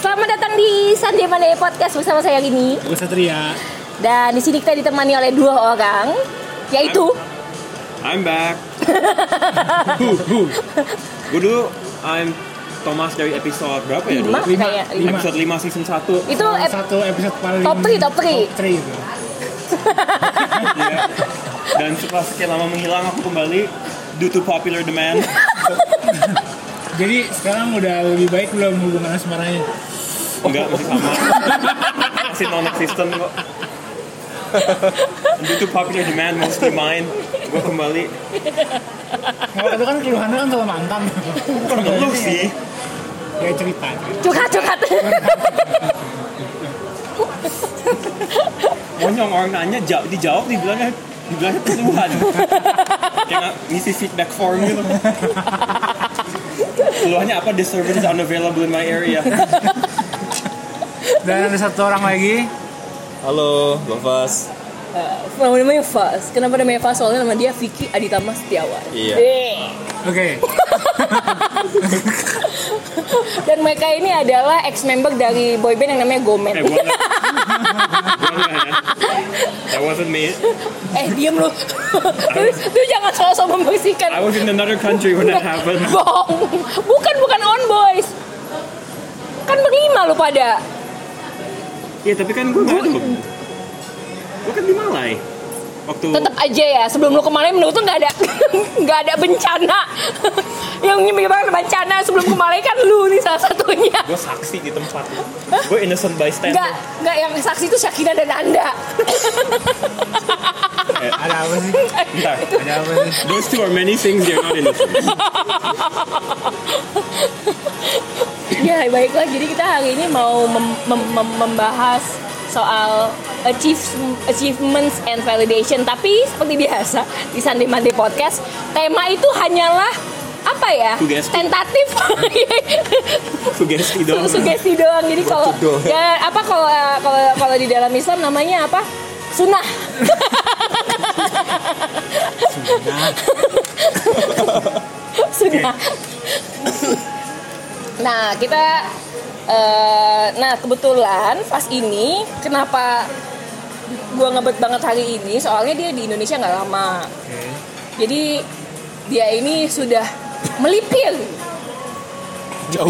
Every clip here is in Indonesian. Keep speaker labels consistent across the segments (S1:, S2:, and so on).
S1: Selamat datang di Sunday Monday Podcast bersama saya ini.
S2: Gue Satria.
S1: Dan di sini kita ditemani oleh dua orang, yaitu
S3: I'm back.
S2: Hu hu.
S3: Gue dulu I'm Thomas dari episode berapa ya dulu?
S1: Lima
S2: lima,
S1: kayak
S2: lima.
S3: Episode 5 season 1.
S1: Itu eh, ep-
S2: satu episode paling
S1: Top three, top three.
S2: Top three itu.
S3: Iya. Dan setelah sekian lama menghilang aku kembali due to popular demand.
S2: Jadi sekarang udah lebih baik belum hubungan asmaranya.
S3: Enggak masih sama. masih non existent kok. due to popular demand mostly mine. Gue kembali.
S2: Kalau itu kan keluhannya kan sama mantan.
S3: Bukan ngeluh sih.
S2: Ya cerita.
S1: curhat-curhat.
S3: Monyong orang nanya jawab dijawab dibilangnya dibilangnya keluhan. Kayak ngisi feedback form gitu. Keluhannya apa? The service is unavailable in my area.
S2: Dan ada satu orang lagi.
S4: Halo, Lovas.
S1: Mau namanya Fas. Kenapa namanya Fas? Soalnya nama dia Vicky Aditama Setiawan.
S4: Iya.
S1: Eh.
S2: Oke.
S1: Dan mereka ini adalah ex member dari boyband yang namanya Gomen.
S3: Eh, gua nggak- gua nggak ya. That wasn't me.
S1: eh, diam lu. lu, lu jangan sosok membersihkan.
S3: I was in another country when that happened.
S1: Bohong. Bukan bukan on boys. Kan berlima lu pada.
S3: Iya, tapi kan gue nggak ada. Gue kan di Malai. Waktu
S1: tetap aja ya sebelum lu kemarin menurut tuh nggak ada nggak ada bencana yang nyimpi banget bencana sebelum kemarin kan lu nih salah satunya
S3: gue saksi di tempat. Gue innocent bystander.
S1: nggak nggak yang saksi itu Syakina dan anda
S2: Ada apa sih?
S3: Bentar.
S2: Ada apa sih?
S3: Those two are many things you're not innocent.
S1: ya baiklah jadi kita hari ini mau mem- mem- mem- membahas soal achieve- achievements and validation tapi seperti biasa di Sunday Monday Podcast tema itu hanyalah apa ya
S3: Sugesti.
S1: tentatif Iya.
S3: Sugesti dong.
S1: Su- sugesti doang jadi kalau
S4: doang.
S1: ya apa kalau kalau kalau di dalam Islam namanya apa sunnah sunnah nah kita eh, nah kebetulan pas ini kenapa gua ngebet banget hari ini soalnya dia di Indonesia nggak lama jadi dia ini sudah melipir
S4: Jauh.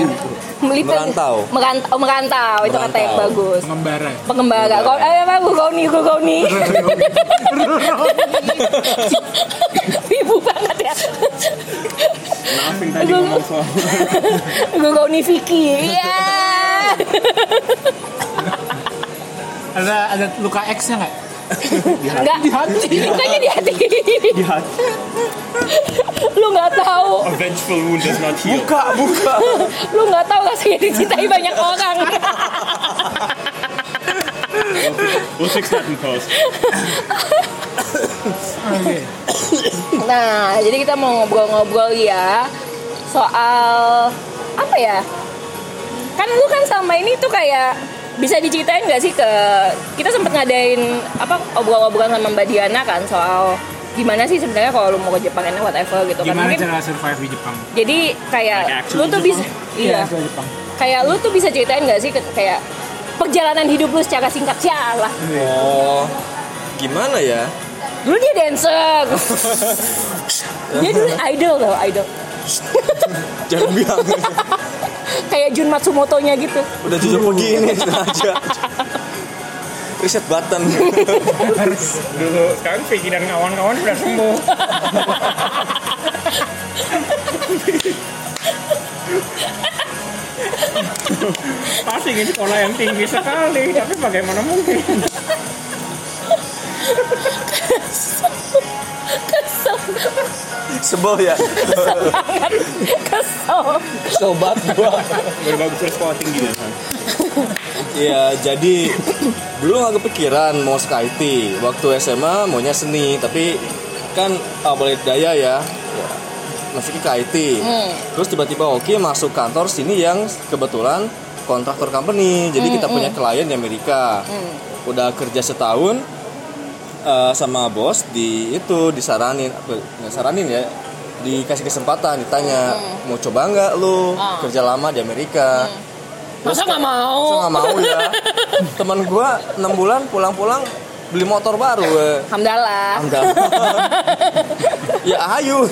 S1: melipir
S4: Merantau.
S1: merantau, merantau. itu kata yang
S4: Merantau.
S1: bagus
S2: Pengembara.
S1: pengembara kau eh apa gua kau nih gua kau nih ibu banget ya
S3: Nothing tadi ngomong soal.
S1: gua kau nih Vicky ya
S2: Ada ada luka X nya nggak?
S1: enggak
S2: Di hati.
S1: lukanya di hati
S3: Iya.
S1: lu nggak tahu
S3: A vengeful wound does not heal.
S4: Buka, buka.
S1: lu nggak tahu rasanya dicintai banyak orang
S3: We'll fix that in post.
S2: Oke.
S1: nah jadi kita mau ngobrol-ngobrol ya soal apa ya kan lu kan sama ini tuh kayak bisa diceritain nggak sih ke kita sempet ngadain apa obrolan-obrolan sama Mbak Diana kan soal gimana sih sebenarnya kalau lu mau ke Jepang enak whatever gitu kan
S2: Gimana
S1: mungkin
S2: cara survive di Jepang?
S1: jadi kayak
S3: Like actual
S1: lu tuh
S3: Jepang?
S1: bisa iya
S2: survive di Jepang.
S1: kayak lu tuh bisa ceritain nggak sih ke- kayak perjalanan hidup lu secara singkat Ya sialah
S4: Oh, gimana ya?
S1: dulu dia dancer dia dulu idol loh idol
S4: Jangan bilang.
S1: kayak Jun Matsumoto-nya gitu
S4: Udah jujur begini aja. Reset button.
S3: Dulu sekarang Vicky dan kawan-kawan sudah sembuh. Pasti ini sekolah yang tinggi sekali, tapi bagaimana mungkin?
S1: kesel
S4: Sebel ya.
S1: banget kesel
S4: Sobat gua.
S3: Berbagi sekolah tinggi dan
S4: Iya, jadi dulu nggak kepikiran mau ke IT. Waktu SMA maunya seni, tapi kan ah, boleh daya ya. Ya, Masuknya ke IT.
S1: Hmm.
S4: Terus tiba-tiba Oki masuk kantor sini yang kebetulan kontraktor company. Jadi kita punya klien di Amerika. Udah kerja setahun eh, sama bos di itu disaranin, apa, nggak saranin ya dikasih kesempatan ditanya mau coba nggak lu kerja lama di Amerika
S1: Masa nggak mau?
S4: Masa nggak mau ya teman gua 6 bulan pulang-pulang beli motor baru eh.
S1: Alhamdulillah.
S4: Amdal. ya ayo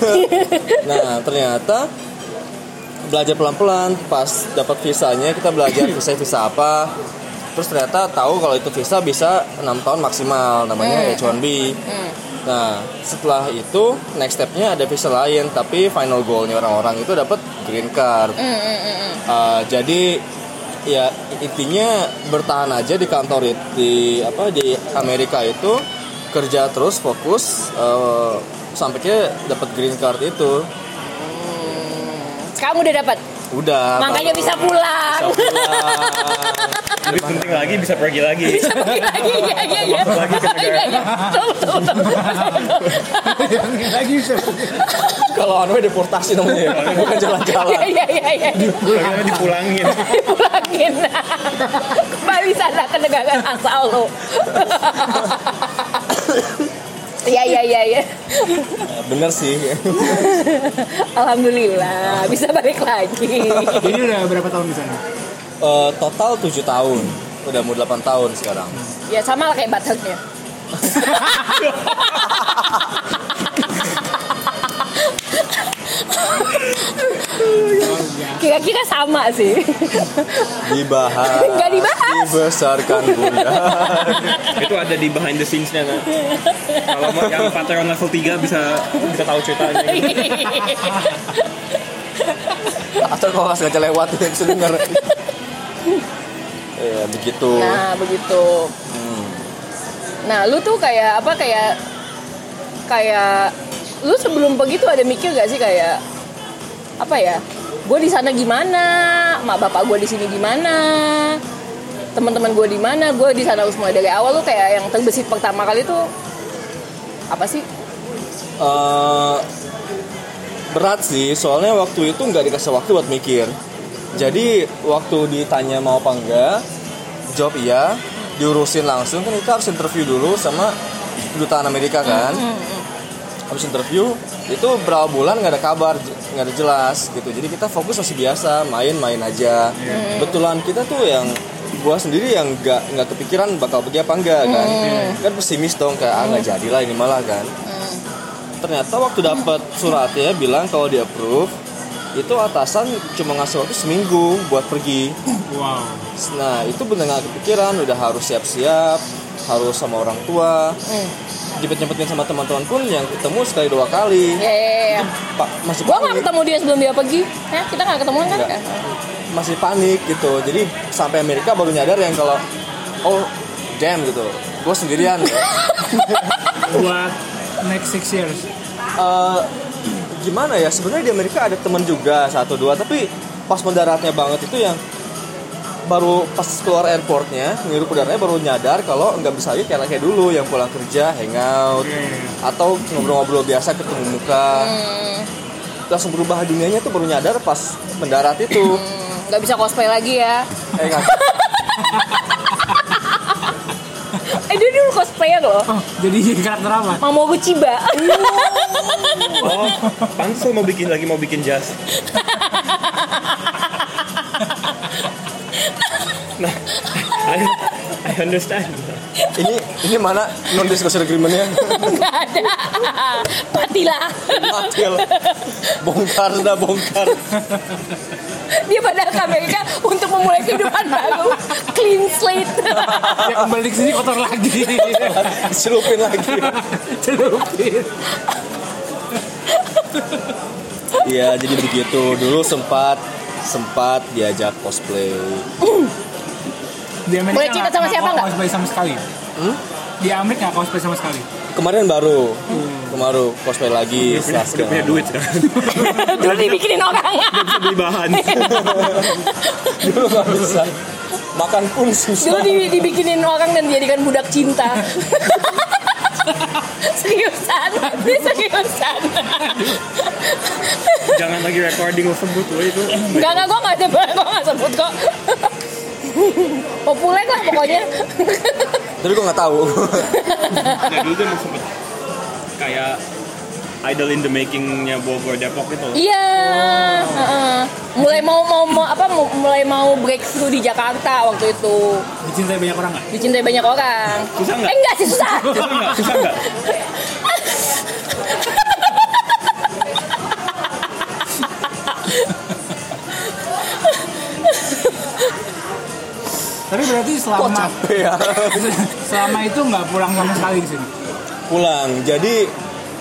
S4: nah ternyata belajar pelan-pelan pas dapat visanya kita belajar visa visa apa terus ternyata tahu kalau itu visa bisa enam tahun maksimal namanya H1B nah setelah itu next stepnya ada visa lain tapi final goalnya orang-orang itu dapat green card Uh, jadi ya intinya bertahan aja di kantor itu di apa di Amerika itu kerja terus fokus uh, sampai ke dapat green card itu
S1: Kamu udah dapat.
S4: udah
S1: Makanya
S4: baru
S1: bisa pulang.
S4: bisa pulang.
S3: Lebih penting lagi bisa pergi lagi.
S1: Bisa pergi lagi. Iya, iya, iya.
S3: Lagi ke negara.
S1: Iya, iya. Betul, betul, betul.
S2: lagi bisa
S4: kalau anu deportasi namanya ya. bukan
S1: Iya,
S4: jalan-jalan
S1: iya, iya, iya.
S3: Lagi dipulangin.
S1: Dipulangin. Kembali sana ke negara asal lo. Iya, iya, iya, iya.
S4: Nah, bener sih
S1: Alhamdulillah bisa balik lagi.
S2: jadi udah berapa tahun di sana
S4: Uh, total 7 tahun udah mau 8 tahun sekarang
S1: Ya sama lah kayak bataknya. Kira-kira sama sih.
S4: dibahas
S1: Nggak dibahas.
S4: dibesarkan bunda
S3: Itu ada di behind the scenes-nya kan. Kalau mau yang Patreon level 3 bisa bisa tahu ceritanya.
S4: atau kalau nggak sengaja lewat yang bisa denger ya begitu
S1: nah begitu. Nah lu tuh kayak apa kayak kayak lu sebelum begitu ada mikir gak sih kayak apa ya? Gue di sana gimana? Mak bapak gue di sini gimana? Teman-teman gue di mana? Gue di sana harus mulai dari awal lu kayak yang terbesit pertama kali tuh apa sih?
S4: Eh, berat sih soalnya waktu itu nggak dikasih waktu buat mikir jadi waktu ditanya mau apa enggak job iya diurusin langsung kan kita harus interview dulu sama kedutaan Amerika kan habis interview itu berapa bulan nggak ada kabar j- nggak ada jelas gitu jadi kita fokus masih biasa main-main aja betulan kita tuh yang gua sendiri yang nggak nggak kepikiran bakal pergi apa enggak kan kan pesimis dong kayak ah nggak jadilah ini malah kan ternyata waktu dapat suratnya bilang kalau di approve itu atasan cuma ngasih waktu seminggu buat pergi
S2: wow
S4: nah itu bener nggak kepikiran udah harus siap-siap harus sama orang tua
S1: Hmm,
S4: nyempet-nyempetin sama teman-teman pun yang ketemu sekali dua kali
S1: Ya, ya, ya.
S4: pak masih
S1: Gua nggak
S4: panik
S1: ketemu dia sebelum dia pergi. Hah, kita nggak ketemu kan?
S4: Nggak. masih panik gitu jadi sampai Amerika baru nyadar yang kalau oh damn gitu gue sendirian
S2: buat next six years
S4: Eh, gimana ya sebenarnya di Amerika ada temen juga satu dua tapi pas mendaratnya banget itu yang baru pas keluar airportnya ngirup udaranya baru nyadar kalau nggak bisa lagi kayak kayak dulu yang pulang kerja hangout atau ngobrol-ngobrol biasa ketemu muka langsung berubah dunianya tuh baru nyadar pas mendarat itu
S1: Hmm, Nggak bisa cosplay lagi ya?
S4: eh nggak
S1: Eh dia dulu cosplayer loh.
S2: oh jadi karakter apa
S1: Mamoru Chiba.
S3: Oh, pantes mau bikin lagi mau bikin jas. Nah, I, I understand.
S4: ini ini mana non disclosure agreementnya
S1: Nggak ada. Matilah.
S4: Matil. bongkar dah bongkar
S1: Dia padahal ke Amerika untuk memulai kehidupan baru. Clean slate.
S2: ya kembali ke sini kotor lagi
S4: selupin lagi
S2: celupin
S4: Iya jadi begitu dulu sempat sempat diajak cosplay
S2: di Amerika
S1: Boleh cerita
S2: nggak-
S1: sama siapa nggak?
S2: cosplay sama sekali Hmm? di Amerika nggak cosplay sama sekali
S4: kemarin baru kemarin cosplay lagi
S3: Udah, udah punya duit kan.
S1: Dulu dibikinin orang.
S3: Beli bahan.
S4: dulu nggak bisa makan pun
S1: Dulu
S4: susah
S1: di- dibikinin orang dan dijadikan budak cinta. seriusan, ini seriusan.
S3: Jangan lagi recording lo sebut lo itu.
S1: Enggak, enggak, gue gak sebut, gue gak sebut kok. Populer lah pokoknya.
S4: tapi gue nggak tahu
S3: Nah, dulu tuh emang sempet kayak idol in the makingnya Bogor Depok itu.
S1: Iya, heeh. mulai mau mau mau apa mu- mulai mau breakthrough di Jakarta waktu itu
S2: Dicintai banyak orang nggak?
S1: dicintai banyak orang.
S3: Susah nggak?
S1: Eh enggak sih susah.
S3: Susah nggak? Susah nggak?
S2: Tapi berarti selama
S4: ya
S2: selama itu nggak pulang sama sekali ke sini.
S4: pulang jadi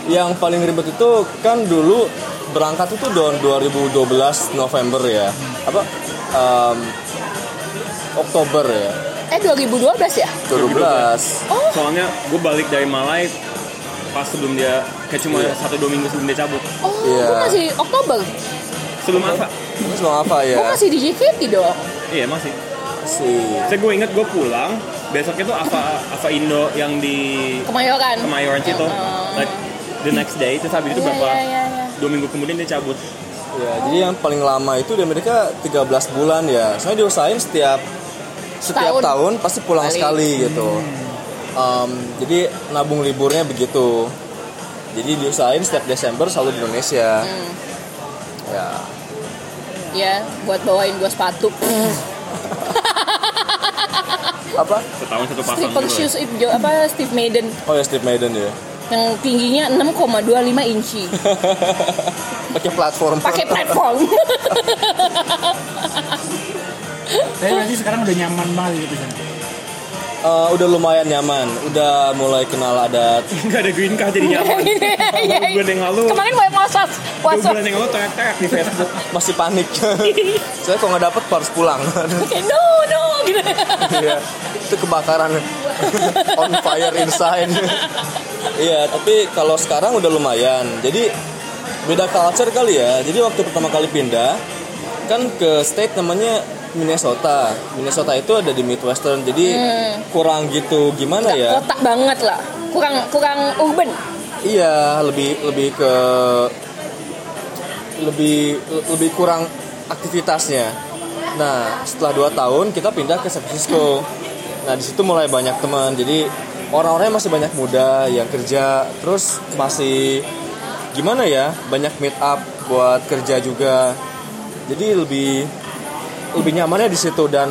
S4: yang paling ribet itu kan dulu berangkat itu tahun 2012 November ya apa em, Oktober ya
S1: Eh 2012 ya?
S4: 2012
S1: Oh.
S3: Soalnya gue balik dari Malai pas sebelum dia kayak cuma
S4: Iya.
S3: satu dua minggu sebelum dia cabut.
S1: Oh,
S4: Iya.
S1: gua masih Oktober.
S3: Sebelum apa?
S4: terus mau
S1: Gua
S4: apa ya
S1: masih di JKT dong.
S3: Iya masih.
S4: si
S3: Saya gue inget gue pulang besoknya tuh apa apa Indo yang di
S1: Kemayoran.
S3: Kemayoran itu like the next day terus habis
S1: Iya,
S3: itu berapa
S1: iya, iya, iya.
S3: dua minggu kemudian dia cabut
S4: Ya, jadi yang paling lama itu di Amerika 13 bulan ya. Soalnya diusahain setiap setiap
S1: Setahun. Hmm.
S4: tahun pasti pulang
S1: Balik.
S4: sekali gitu. Em, jadi nabung liburnya begitu. Jadi diusahain setiap Desember selalu di Indonesia.
S1: Hmm.
S4: Ya,
S1: Ya, buat bawain gua sepatu.
S4: apa?
S3: setahun satu pasang
S1: Stripper
S3: gitu.
S1: shoes itu jo- apa Steve Madden
S4: Oh ya Steve Madden ya.
S1: yang tingginya 6,25 inci.
S4: Pakai platform.
S1: Pakai platform.
S2: Tapi berarti sekarang udah nyaman banget gitu kan.
S4: Eh, udah lumayan nyaman. Udah mulai kenal adat.
S3: nggak ada green card jadi nyaman
S1: Iya,
S3: Dua bulan yang lalu
S1: Kemarin banyak masak.
S3: dua
S1: Wasap.
S3: bulan yang lalu teriak-teriak di Facebook
S4: Masih panik. Saya kalau nggak dapet harus pulang.
S1: Kayak no no gitu.
S4: Iya, itu kebakaran on fire inside. Iya, tapi kalau sekarang udah lumayan. Jadi beda culture kali ya. Jadi waktu pertama kali pindah kan ke state namanya Minnesota. Minnesota itu ada di Midwestern. Jadi kurang gitu gimana ya?
S1: Kota banget lah. Kurang kurang urban.
S4: Iya, lebih lebih ke lebih lebih kurang aktivitasnya. Nah, setelah 2 tahun kita pindah ke San Francisco. Nah, di situ mulai banyak teman. Jadi orang-orangnya masih banyak muda yang kerja, terus masih gimana ya? Banyak meet up buat kerja juga. Jadi lebih lebih nyamannya di situ dan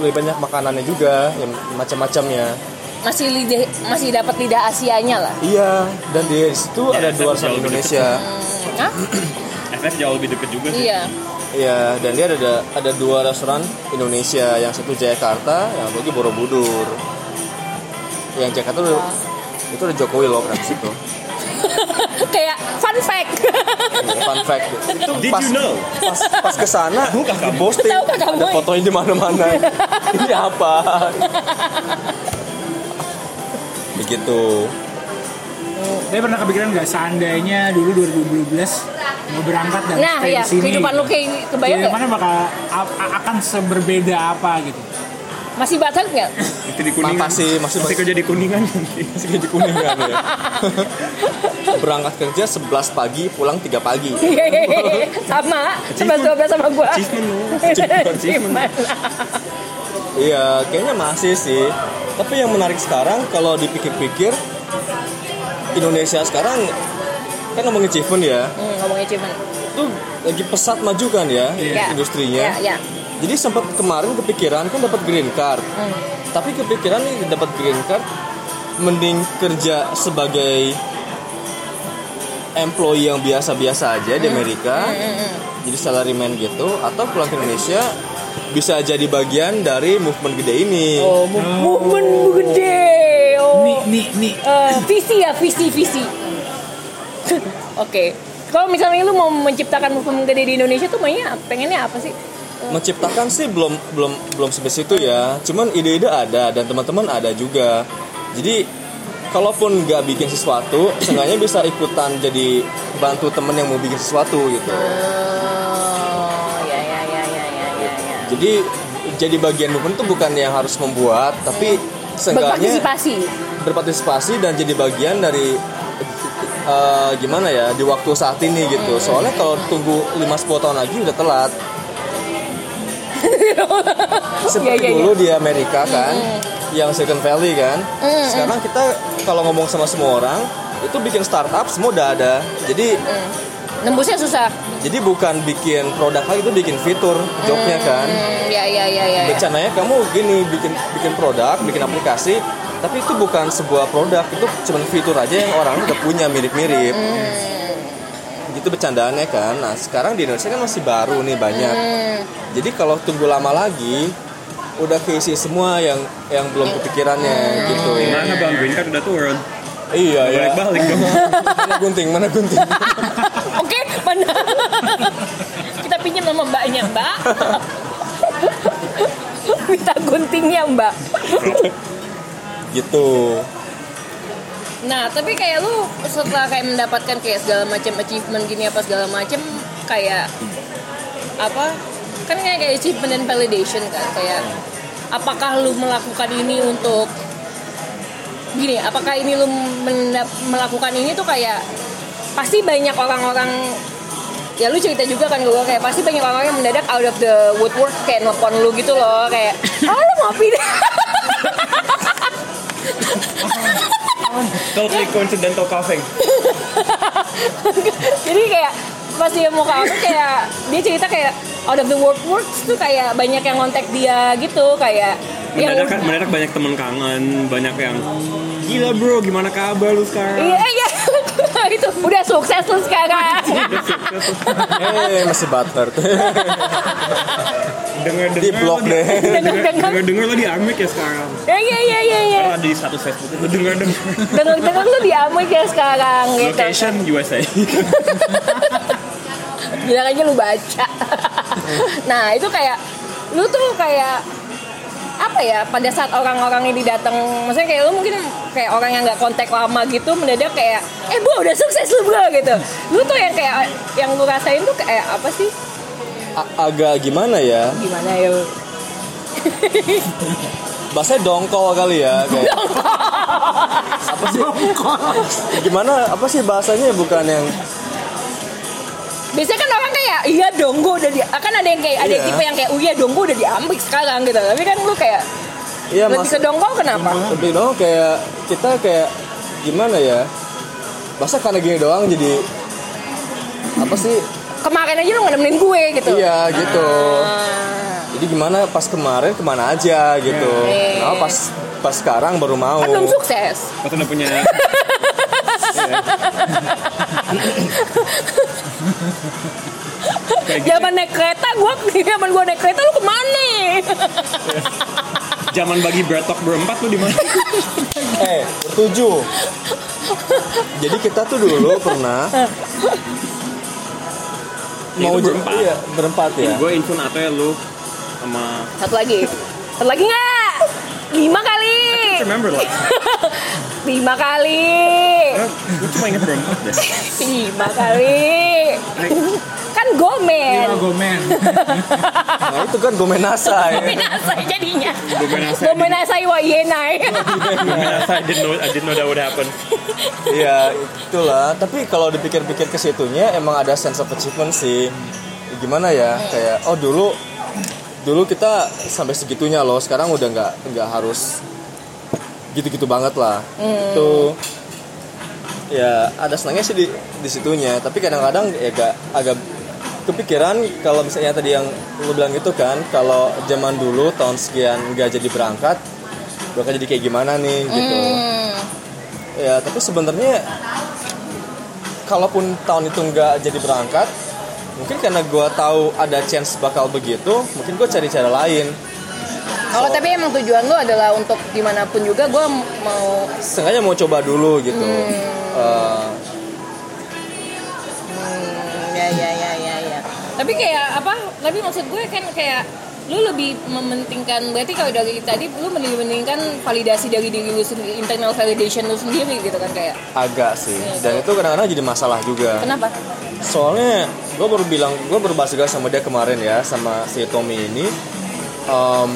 S4: lebih banyak makanannya juga, yang macam-macamnya.
S1: Masih lidah masih dapat lidah Asianya lah.
S4: Iya, dan di situ ada
S3: dan jauh
S4: dua orang
S3: lebih
S4: Indonesia.
S1: Hah?
S3: FF jauh lebih deket juga sih
S1: Iya.
S4: Iya, dan dia ada ada dua restoran Indonesia, yang satu Jakarta, yang satu lagi Borobudur. Yang Jakarta itu, itu ada Jokowi loh kan di situ.
S1: Kayak fun fact.
S4: Fun fact. Itu
S3: Did
S4: pas,
S3: you know?
S4: pas pas ke sana di posting
S1: Tahukah kamu?
S4: ada fotonya di mana-mana. Ini apa? Begitu.
S2: Tapi pernah kepikiran nggak seandainya dulu 2012 mau berangkat dan
S1: Nah,
S2: stay
S1: ya,
S2: di sini? Iya,
S1: kehidupan lu kayak kebayang nggak?
S2: Kehidupannya bakal a- a- akan seberbeda apa gitu?
S1: Masih batak nggak?
S3: itu di kuningan
S4: Makasih, masih-
S3: masih kerja di kuningan
S4: Masih gaji kuningan ya. Berangkat kerja 11 pagi, pulang 3 pagi.
S1: Hehehe. sama, sama
S3: Achievement.
S1: dua sama gua.
S3: achievement lu
S1: Achievement.
S4: Iya, kayaknya masih sih. Tapi yang menarik sekarang kalau dipikir-pikir Indonesia sekarang kan ngomongin achievement ya,
S1: Hmm, ngomong achievement.
S4: itu lagi pesat maju kan ya
S1: Ya.
S4: industrinya.
S1: Ya, ya.
S4: Jadi sempat kemarin kepikiran kan dapat green card.
S1: Hmm.
S4: Tapi kepikiran nih dapat green card mending kerja sebagai employee yang biasa-biasa aja di Amerika. Jadi salaryman gitu atau pulang ke Indonesia bisa jadi bagian dari movement gede ini.
S1: Oh, mo- movement gede. Oh.
S2: Nih, nih, nih.
S1: Eh, visi ya, visi, visi. Oke. Kalau misalnya lu mau menciptakan movement gede di Indonesia tuh mainnya pengennya apa sih?
S4: menciptakan sih belum belum belum sebesar itu ya cuman ide-ide ada dan teman-teman ada juga jadi kalaupun nggak bikin sesuatu seenggaknya bisa ikutan jadi bantu temen yang mau bikin sesuatu gitu
S1: Oh, ya ya ya ya ya ya. ya.
S4: jadi jadi bagian movement itu bukan yang harus membuat tapi seenggaknya
S1: Berpartisipasi.
S4: berpartisipasi dan jadi bagian dari eh, gimana ya di waktu saat ini gitu soalnya kalau tunggu 5-10 tahun lagi udah telat seperti
S1: Iya, iya,
S4: dulu di Amerika kan yang Silicon Valley kan sekarang kita kalau ngomong sama semua orang itu bikin startup semua udah ada jadi
S1: Nembusnya susah.
S4: jadi bukan bikin produk lagi itu bikin fitur jobnya kan
S1: Hmm, ya ya ya ya. ya.
S4: rencananya kamu gini bikin bikin produk bikin aplikasi tapi itu bukan sebuah produk itu cuma fitur aja yang orang udah punya mirip-mirip gitu bercandaannya kan nah sekarang di Indonesia kan masih baru nih banyak jadi kalau tunggu lama lagi udah keisi semua yang yang belum kepikirannya gitu
S3: Gimana bang Green Card udah turun?
S4: iya ya
S3: Balik-balik dong.
S4: mana gunting mana gunting
S1: Oke, mana? Kita pinjam sama mbaknya, mbak. Minta guntingnya, mbak.
S4: gitu
S1: Nah, tapi kayak lu setelah kayak mendapatkan kayak segala macam achievement gini apa segala macam kayak apa? Kan kayak kayak achievement dan validation kan kayak apakah lu melakukan ini untuk gini, apakah ini lu mendap- melakukan ini tuh kayak pasti banyak orang-orang ya lu cerita juga kan ke gue kayak pasti banyak orang yang mendadak out of the woodwork kayak nelfon lu gitu loh kayak oh lu mau pindah
S3: Totally coincidental coughing.
S1: jadi kayak pas dia mau ke aku kayak dia cerita kayak out of the work works tuh kayak banyak yang kontak dia gitu kayak
S3: Mendadak, mendadak banyak temen kangen, banyak yang gila bro, gimana kabar lu sekarang?
S1: iya iya itu udah sukses lu sekarang
S4: eh masih butter
S3: Dengar
S4: di blok deh
S1: Dengar-dengar.
S3: Dengar dengar lo di Amrik ya sekarang.
S1: ya iya iya iya iya
S3: Karena ada di status Facebook itu dengar dengar.
S1: dengar dengar lu di Amrik ya sekarang gitu
S3: Location USA.
S1: bilang aja lu baca nah itu kayak lu tuh kayak apa ya pada saat orang-orang ini datang maksudnya kayak lu mungkin kayak orang yang nggak kontak lama gitu mendadak kayak eh bro udah sukses lu bro gitu lu tuh yang kayak yang lu rasain tuh kayak apa sih
S4: A- agak gimana ya
S1: gimana ya
S4: bahasanya dongkol kali ya kayak apa sih gimana apa sih bahasanya bukan yang
S1: biasanya kan orang kayak iya dong gua udah di akan ada yang kayak ada
S4: Iya.
S1: tipe yang kayak oh iya dong gua udah diambil sekarang gitu tapi kan lu kayak
S4: ya
S1: lebih
S4: mas
S1: ke dongkol kenapa
S4: lebih dong kayak kita kayak gimana ya bahasa karena gini doang jadi apa sih
S1: kemarin aja lu nggak nemenin gue gitu
S4: iya gitu
S1: Ah.
S4: jadi gimana pas kemarin kemana aja gitu
S1: Oke.
S4: nah pas pas sekarang baru
S1: iya.
S4: mau
S1: kan belum sukses
S3: Pas udah punya
S1: Zaman naik kereta, gua zaman gua naik kereta lu kemana?
S3: zaman bagi bertok berempat lu di mana?
S4: eh bertujuh jadi kita tuh dulu pernah mau
S3: Itu berempat.
S4: iya, berempat ya
S3: Gue infun atau ya lu sama
S1: Satu lagi, satu lagi nggak? Lima kali,
S3: remember lah.
S1: lima kali,
S3: Gue cuma inget berempat deh.
S1: lima kali. Kan gomen,
S2: Iya, gomen.
S4: Nah itu kan gomenasa ya.
S1: gomenasai jadinya.
S3: Gomenasai.
S1: Gomenasai wayenai.
S3: I didn't know I didn't know that would happen.
S4: Iya itulah. Tapi kalau dipikir-pikir ke situnya emang ada sense of achievement sih. Gimana ya kayak oh dulu dulu kita sampai segitunya loh. Sekarang udah nggak nggak harus gitu-gitu banget lah. Itu ya ada senangnya sih di, di situnya. Tapi kadang-kadang ya agak agak kepikiran kalau misalnya tadi yang lu bilang itu kan kalau zaman dulu tahun sekian nggak jadi berangkat bakal jadi kayak gimana nih gitu. Ya, tapi sebenarnya kalaupun tahun itu nggak jadi berangkat, mungkin karena gua tahu ada chance bakal begitu, mungkin gue cari cara lain.
S1: Kalau Oh, tapi emang tujuan lu adalah untuk dimanapun juga gua mau
S4: Sengaja mau coba dulu gitu. Eh,
S1: ya ya ya ya ya tapi kayak apa tapi maksud gue kan kayak lu lebih mementingkan berarti kalau dari tadi lu mending mendingkan validasi dari diri lu sendiri internal validation lu sendiri gitu kan kayak
S4: agak sih. Dan itu kadang-kadang jadi masalah juga.
S1: kenapa
S4: Soalnya gue baru bilang gue baru bahas juga sama dia kemarin ya sama si Tommy ini. Em,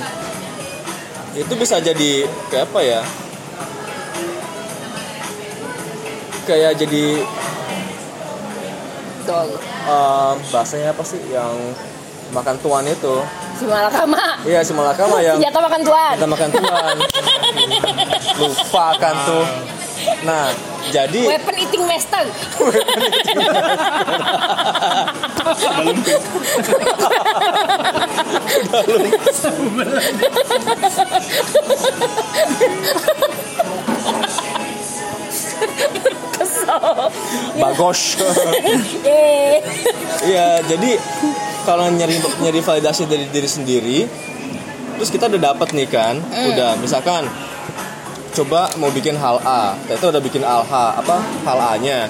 S4: itu bisa jadi kayak apa ya? Kayak jadi
S1: dol
S4: Ehm, bahasanya apa sih yang makan tuan itu
S1: si malakama
S4: iya si malakama yang
S1: senjata makan tuan
S4: kita makan tuan lupa kan tuh Nah, jadi
S1: Weapon eating master. Kesel.
S4: bagus.
S1: Yeay.
S4: Iya, jadi kalau nyari nyari validasi dari diri sendiri, terus kita udah dapat nih kan, udah misalkan coba mau bikin hal A, itu udah bikin hal H apa hal A-nya,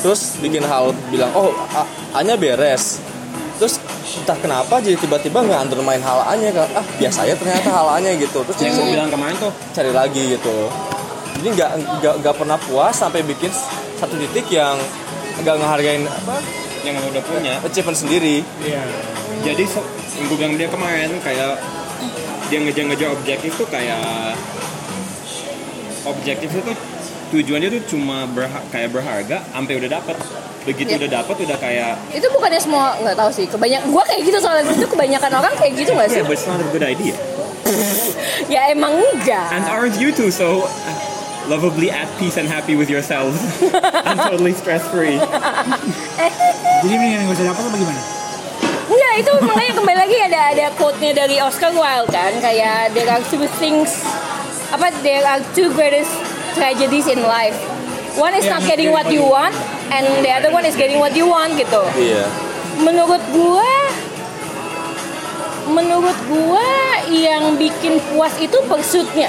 S4: terus bikin hal bilang oh A- A-nya beres, terus entah kenapa jadi tiba-tiba nggak undermine hal A-nya kan, ah biasanya ternyata hal A-nya gitu, terus jadi
S3: Yang gue bilang kemarin tuh
S4: cari lagi gitu jadi nggak nggak nggak pernah puas sampai bikin satu titik yang nggak ngehargain apa
S3: yang lo udah punya.
S4: achievement sendiri
S2: Iya.
S3: Jadi so, yang gue bilang dia kemarin kayak dia ngejar-ngejar objektif tuh kayak objektifnya tuh tujuannya tuh cuma berha- kayak berharga sampai udah dapet begitu
S1: Iya.
S3: udah dapet udah kayak
S1: Itu bukannya semua nggak tahu sih. Kebanyak gua kayak gitu soalnya itu kebanyakan orang kayak gitu nggak sih?
S3: yeah Iya, but it's not a good idea
S1: Ya emang enggak.
S3: and aren't you too so uh, lovably at peace and happy with yourselves and totally stress free
S2: Jadi mendingan yang gak usah dapat apa gimana?
S1: Enggak, itu makanya kembali lagi ada ada quote-nya dari Oscar Wilde kan kayak there are two things apa there are two greatest tragedies in life. One is
S2: Yeah,
S1: not getting what you want and the other one is getting what you want gitu.
S4: iya
S1: Menurut gua menurut gua yang bikin puas itu pursuit-nya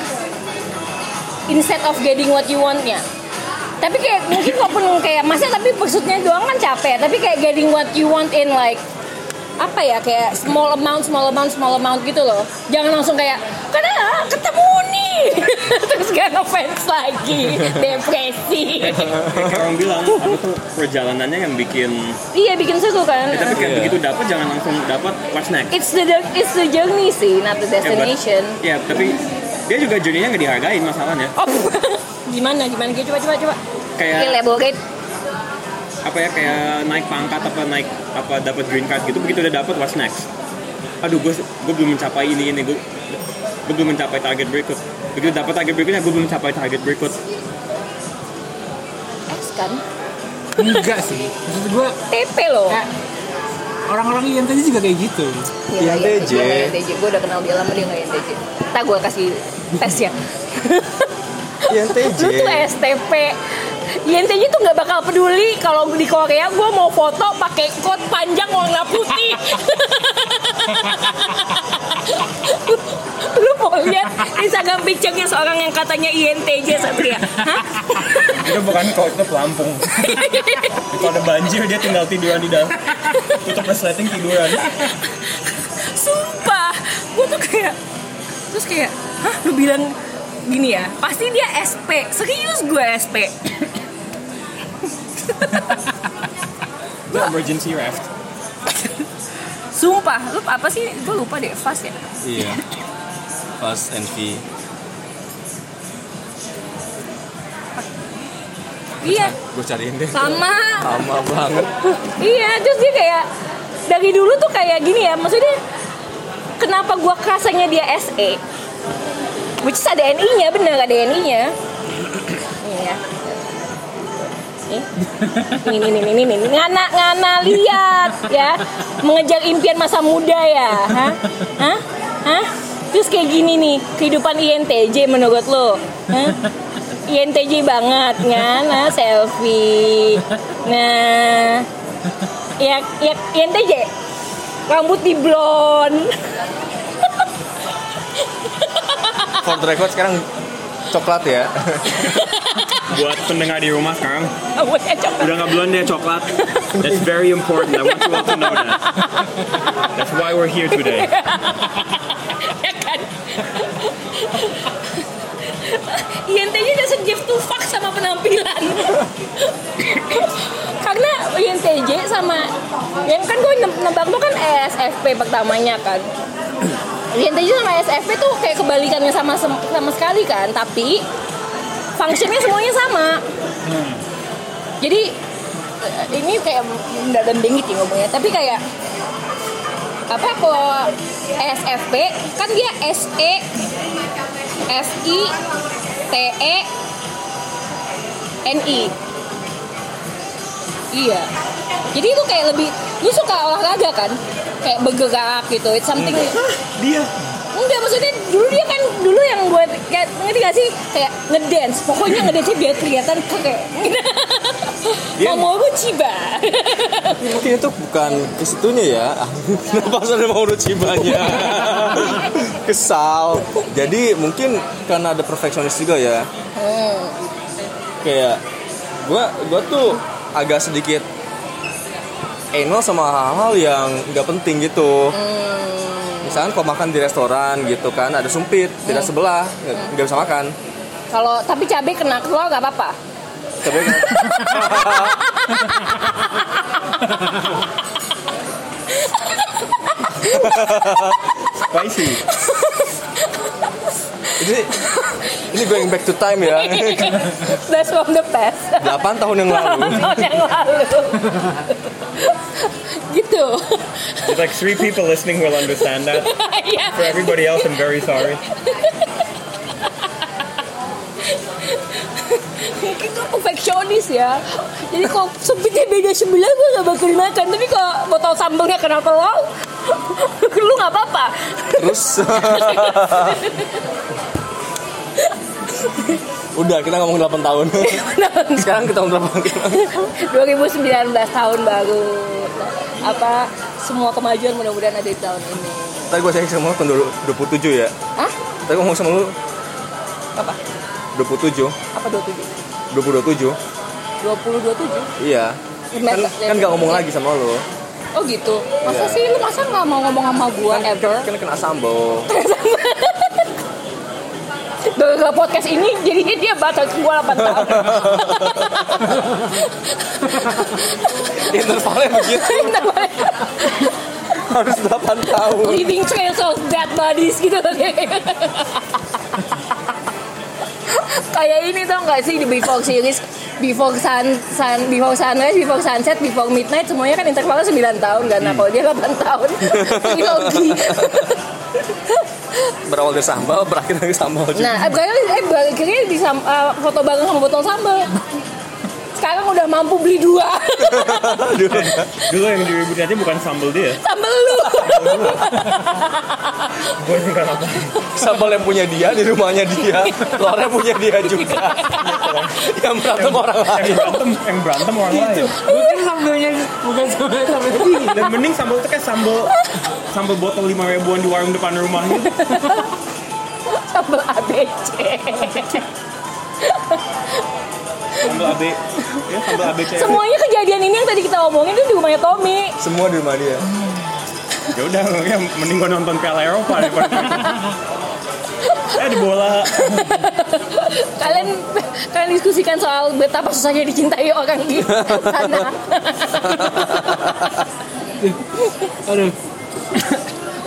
S1: instead of getting what you want-nya. Tapi kayak mungkin walaupun kayak masa tapi maksudnya doang kan capek. Tapi kayak getting what you want in like apa ya kayak small amount, small amount, small amount gitu loh. Jangan langsung kayak karena ketemu nih terus gak ngefans lagi depresi.
S3: kayak orang bilang apa tuh perjalanannya yang bikin
S1: iya bikin seru kan.
S3: tapi kayak
S4: Iya.
S3: begitu dapet jangan langsung dapet what's next
S1: It's the it's the journey sih, not the
S3: Ya, but-
S1: destination.
S3: Ya, tapi dia juga jadinya nggak dihargain masalahnya.
S1: Oh, gimana gimana gitu coba coba coba.
S3: Kayak
S1: Elaborate.
S3: apa ya kayak naik pangkat apa naik apa dapat green card gitu begitu udah dapat what's next. Aduh, gue gue belum mencapai ini ini gue gue belum mencapai target berikut. Begitu dapat target berikutnya gue belum mencapai target berikut.
S1: X kan.
S2: Enggak sih. Maksud gue
S1: TP loh.
S2: kayak orang-orang yang tadi juga kayak gitu.
S1: Iya, iya,
S4: Yang TJ.
S1: Gue nggak yang TJ. Gue udah kenal dia lama dia nggak yang TJ. Tak gue kasih tesnya.
S4: yang TJ
S1: iya. Lu tuh STP. YNTJ tuh nggak bakal peduli kalau di Korea gue mau foto pakai kot panjang warna putih. Lu- lu mau lihat Instagram picture-nya seorang yang katanya INTJ Satria? Hah?
S3: Itu bukan kok itu pelampung. Kalau ada banjir dia tinggal tiduran di dalam. Tutup resleting tiduran.
S1: Sumpah, gue tuh kayak terus kayak, hah lu bilang gini ya? Pasti dia SP. Serius gue SP.
S3: The emergency raft.
S1: Sumpah, lu apa sih? Gue lupa deh, fast ya.
S4: iya Fast and V
S1: Iya,
S4: gue cariin deh
S1: sama.
S4: lama banget
S1: Iya, terus dia kayak dari dulu tuh kayak gini ya, maksudnya kenapa gua kerasanya dia SE? Which is ada NI-nya, bener ada NI-nya. Iya. Nih. Nih, nih, nih, nih, nih, nih, nih. ngana, ngana, lihat ya, mengejar impian masa muda ya, hah, hah, hah, terus kayak gini nih kehidupan INTJ menurut lo, hah? INTJ banget, ngana, selfie, nah, ya, ya, INTJ, rambut di blonde,
S4: for the record sekarang coklat ya
S3: Buat pendengar di rumah sekarang
S1: rambutnya coklat.
S3: Udah nggak blonde ya coklat. That's very important. I want you all to know that. That's why we're here today.
S1: INTJ doesn't give two fuck sama penampilan karena INTJ sama yang kan gue nebak tuh kan ESFP pertamanya kan INTJ sama ESFP tuh kayak kebalikannya sama sem- sama sekali kan tapi fungsinya semuanya sama jadi eh, ini kayak nggak dendeng gitu ngomongnya tapi kayak apa kalau ESFP kan dia E SE FI TE NI iya jadi itu kayak lebih lu suka olahraga kan kayak bergerak gitu it's something
S2: dia
S1: Enggak maksudnya dulu dia kan dulu yang buat kayak ngerti gak sih kayak ngedance pokoknya ngedance biar kelihatan kayak
S3: Dia-
S1: mau gue ciba
S4: mungkin itu bukan ke situnya ya kenapa sudah mau cibanya kesal jadi mungkin karena ada perfeksionis juga ya kayak gua gua tuh agak sedikit eno sama hal-hal yang nggak penting gitu misalkan kalau makan di restoran gitu kan ada sumpit tidak sebelah nggak nggak bisa makan
S1: kalau tapi cabai kena keluar gak apa-apa
S4: tapi kan-
S3: Spicy.
S4: ini ini going back to time ya
S1: that's from the past
S4: 8 tahun yang lalu
S1: tahun yang lalu gitu
S3: It's like three people listening will understand that.
S1: Iya.
S3: For everybody else, I'm very sorry.
S1: itu perfeksionis ya jadi kalau sempitnya beda sebelah gue gak bakal makan tapi kalau botol sambalnya kena telur lu gak apa-apa
S4: Terus Udah kita ngomong 8 tahun Sekarang kita ngomong berapa
S1: 2019 tahun baru apa semua kemajuan mudah-mudahan ada di tahun ini
S4: Tadi gue cek sama lu kan dulu 27 ya
S1: Hah?
S4: Tadi gua ngomong sama lu
S1: apa
S4: 27
S1: apa 27
S4: 2027
S1: 20
S4: Iya Kan, kan gak ngomong lagi sama lu
S1: oh gitu masa
S4: Iya.
S1: sih lu masa nggak mau ngomong sama gua ever
S4: Kan kena sambo
S1: Gara-gara podcast ini jadinya dia bakal ke gua 8 tahun
S4: Intervalnya begitu Harus 8 tahun
S1: Living trails of dead bodies gitu Kayak ini tau gak sih di Before Series Before sun, sun, Before Sunrise, Before Sunset, Before Midnight Semuanya kan intervalnya 9 tahun kan Nah kalau dia 8 tahun Trilogi
S4: Berawal dari sambal Berakhir dari sambal juga
S1: Nah eh, berakhir eh, berakhirnya di sam- eh, foto bareng sama botol sambal Sekarang udah mampu beli dua
S4: Aduh.
S3: Dulu yang diributin aja bukan sambal dia.
S1: Sambal lu
S3: Gue sih apa.
S4: Sambal yang punya dia di rumahnya dia Telurnya punya dia juga Yang berantem orang lain
S3: Yang berantem, yang berantem orang lain.
S2: bukan sambalnya bukan sambal sambil dia
S3: Dan mending sambal itu kayak sambal sambal botol lima ribuan di warung depan gitu. rumahnya.
S1: Sambal ABC
S3: Sambal AB, ya sambal ABC.
S1: Semuanya kejadian ini yang tadi kita omongin itu di rumahnya Tommy.
S4: Semua di rumah dia
S3: Ya udah, ya mending gue nonton Piala Eropa daripada. eh di bola
S1: Kalian kalian diskusikan soal betapa susahnya dicintai orang di sana.
S2: aduh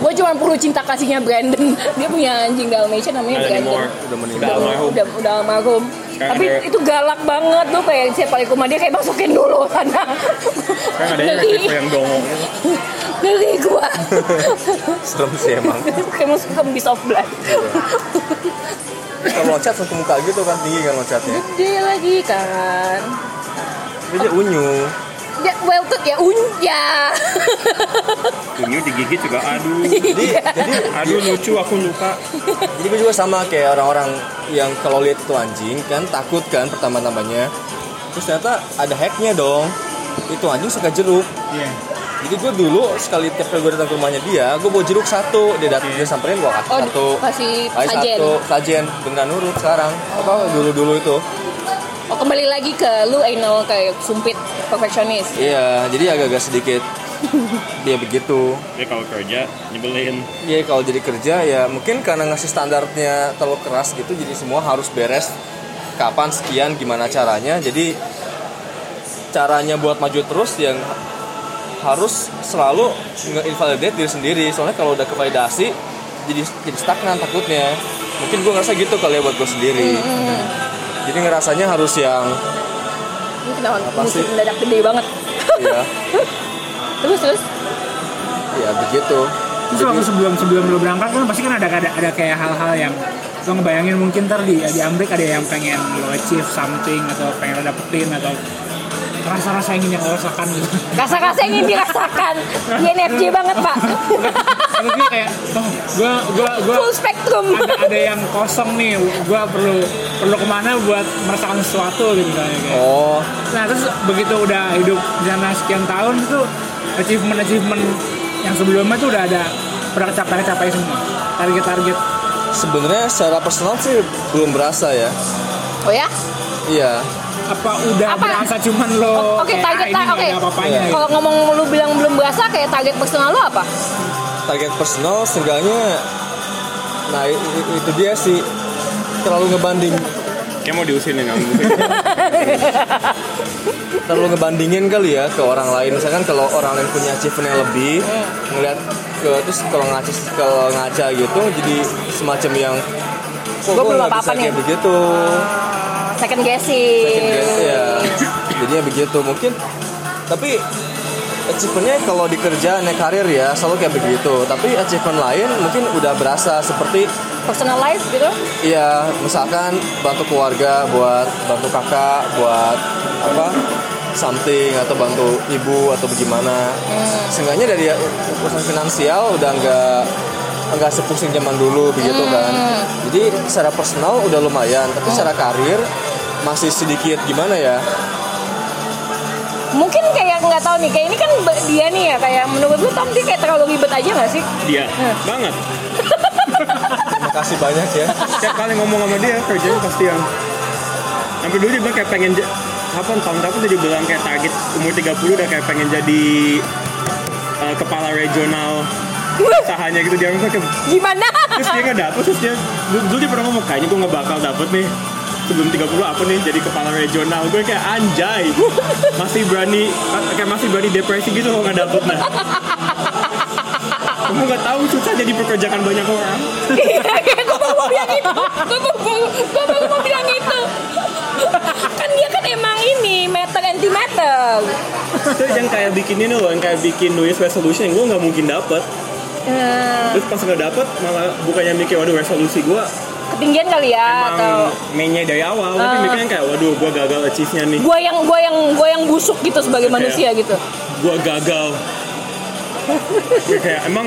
S1: Gue cuma perlu cinta kasihnya Brandon. Dia punya anjing Dalmatian namanya
S3: Ada
S1: Brandon.
S3: anymore.
S4: Udah meninggal.
S3: Udah almarhum.
S1: Udah, udah almarhum.
S3: Sekarang
S1: Tapi
S3: ada-
S1: itu galak banget tuh kayak siapa kali ke rumah dia kayak masukin dulu sana.
S3: Kan ada
S1: Ngeri,
S3: yang dongong.
S1: ngeri gua.
S4: Serem sih emang
S1: kayak masuk ke bis of blood.
S4: Kalau loncat satu muka gitu kan tinggi kan loncatnya
S1: Gede lagi kan.
S4: Tapi dia unyu
S1: Ya, welted ya unja.
S3: Tunyu digigit juga aduh.
S4: Jadi, jadi,
S3: Aduh lucu aku lupa.
S4: jadi gue juga sama kayak orang-orang yang kalau lihat itu anjing kan takut kan pertama-tamanya Terus ternyata ada hacknya dong Itu anjing suka jeruk
S2: iya
S4: Jadi gue dulu sekali tiap kali gue datang ke rumahnya dia Gue bawa jeruk satu Dia datang dia samperin gue kasih
S1: Oh,
S4: satu
S1: kasih
S4: Kasih
S1: sajen.
S4: satu Sajen Beneran nurut sekarang Apa dulu-dulu itu
S1: Oh kembali lagi ke lu anal kayak sumpit perfeksionis.
S4: Iya jadi agak-agak sedikit Dia begitu
S3: Ya kalau kerja nyebelin.
S4: Iya kalau jadi kerja ya mungkin karena ngasih standarnya terlalu keras gitu jadi semua harus beres kapan sekian gimana caranya jadi caranya buat maju terus yang harus selalu nge-invalidate diri sendiri soalnya kalau udah kevalidasi jadi jadi stagnan takutnya mungkin gue ngerasa gitu kali ya buat gue sendiri jadi ngerasanya harus yang
S1: Ini kenapa
S4: Apa
S1: musik
S4: sih?
S1: mendadak gede banget.
S4: ya
S1: Terus terus.
S4: ya begitu
S2: terus waktu sebelum sebelum lo berangkat kan pasti kan ada ada, ada kayak hal-hal yang lo ngebayangin mungkin ntar di di Amrik ada yang pengen lo achieve something atau pengen lo dapetin atau rasa-rasa yang ingin yang lo rasakan gitu
S1: Rasa-rasa yang ingin dirasakan INFJ banget pak
S2: Maksudnya kayak oh, gue gue gue
S1: Full spectrum
S2: ada ada yang kosong nih gue perlu perlu kemana buat merasakan sesuatu gitu misalnya kayak.
S4: oh
S2: Nah terus begitu udah hidup di sana sekian tahun itu achievement-achievement yang sebelumnya tuh udah ada udah tercapai-capai semua target-target
S4: sebenarnya secara personal sih belum berasa ya
S1: Oh ya?
S4: iya
S2: apa udah
S1: Apa?
S2: berasa cuman lo
S1: O- oke,
S2: kayak,
S1: target-
S2: "Ah, ini
S1: oke.
S2: nggak ada apa-apanya
S4: Iya.
S2: gitu.
S1: Kalau ngomong lu bilang belum berasa kayak target personal lu apa?
S4: target personal seenggaknya nah i- i- itu dia sih terlalu ngebanding
S3: Kayak mau diusir nih kamu.
S4: terlalu ngebandingin kali ya ke orang lain misalkan kalau orang lain punya achievement yang lebih ngeliat ke terus kalau ngaca kalau ngaca gitu jadi semacam yang kok
S1: Gua
S4: gua
S1: belum ya?"
S4: nggak
S1: apa-apa
S4: bisa kayak
S1: nih."
S4: begitu
S1: Second guessing.
S4: Second guess, ya jadinya begitu mungkin tapi achievementnya kalau di kerjaan ya karir ya selalu kayak begitu tapi achievement lain mungkin udah berasa seperti
S1: Personalized gitu.
S4: Iya, misalkan bantu keluarga buat bantu kakak buat apa something atau bantu ibu atau bagaimana. Seenggaknya dari urusan finansial udah nggak nggak sepusing zaman dulu begitu kan. Jadi secara personal udah lumayan, tapi secara karir masih sedikit gimana ya?
S1: Mungkin kayak nggak tahu nih, kayak ini kan be- dia nih ya kayak menurut lu Tom dia kayak terlalu ribet aja nggak sih?
S3: Dia banget.
S4: Makasih banyak ya.
S3: Setiap kali ngomong sama dia kerjanya pasti yang sampai dulu dia bilang kayak pengen ja- kapan tahun berapa tuh dia bilang kayak target umur 30 udah kayak pengen jadi eh, kepala regional usahanya gitu dia ngomong kayak
S1: Gimana?
S3: terus dia nggak dapet terus dia dulu, dulu dia pernah ngomong kayaknya gue nggak bakal dapet nih sebelum 30 aku nih jadi kepala regional gue kayak anjay masih berani kayak masih berani depresi gitu kalau nggak dapet nah kamu nggak tahu susah jadi pekerjaan banyak orang
S1: gue baru Iya, mau bilang itu gue baru, gua baru mau bilang itu kan dia kan emang ini meter antimeter
S3: terus yang kayak bikin ini loh yang kayak bikin New Year's resolution yang gue nggak mungkin dapet
S1: Eh,
S3: terus pas nggak dapet malah bukannya mikir waduh resolusi gue
S1: ketinggian kali ya atau Eh.
S3: emang mainnya dari awal tapi mikirnya kayak waduh gue gagal achieve-nya nih
S1: gue yang gue yang gue yang busuk gitu sebagai
S3: Oke.
S1: manusia gitu
S3: gua gagal Ya, kayak emang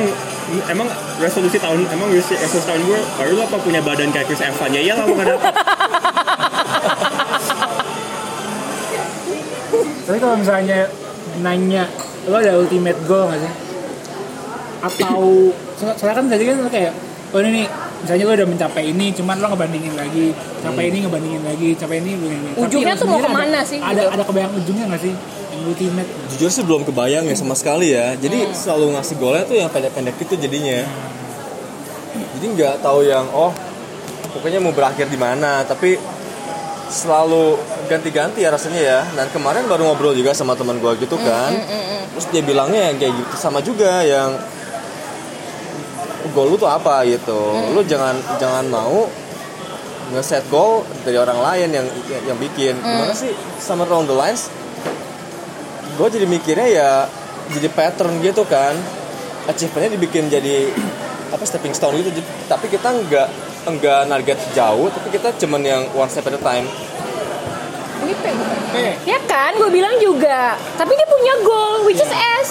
S3: emang resolusi tahun emang resolusi resolusi tahun gue baru lu apa punya badan kayak Chris Evans ya iyalah mau dapat
S2: Tapi kalau misalnya nanya, lo ada ultimate goal nggak sih? Atau so- soalnya kan tadi kan lo kayak, oh ini nih, misalnya lo udah mencapai ini, cuman lo ngebandingin lagi, capai ini ngebandingin lagi, capai ini ngebandingin lagi. Tapi
S1: Ujungnya
S2: lo
S1: tuh mau
S2: sendiri
S1: kemana
S2: ada,
S1: sih,
S2: Ada
S1: gitu?
S2: ada kebayang ujungnya nggak sih? Yang ultimate.
S4: Jujur sih belum kebayang ya sama sekali ya. Jadi selalu ngasih golnya tuh yang pendek-pendek gitu jadinya. Jadi nggak tahu yang oh pokoknya mau berakhir di mana, tapi selalu ganti-ganti ya rasanya ya. Dan kemarin baru ngobrol juga sama teman gua gitu kan. Terus dia bilangnya yang kayak gitu sama juga yang goal lu tuh apa gitu. Lu jangan jangan mau nge-set goal dari orang lain yang yang bikin. Gimana sih sama round the lines? Gue jadi mikirnya ya jadi pattern gitu kan. Achievementnya dibikin jadi apa stepping stone gitu. Jadi- Tapi kita nggak nggak target jauh, tapi kita cuman yang one step at a time.
S1: gitu ya kan gue bilang juga tapi dia punya goal which is
S3: Iya.
S1: S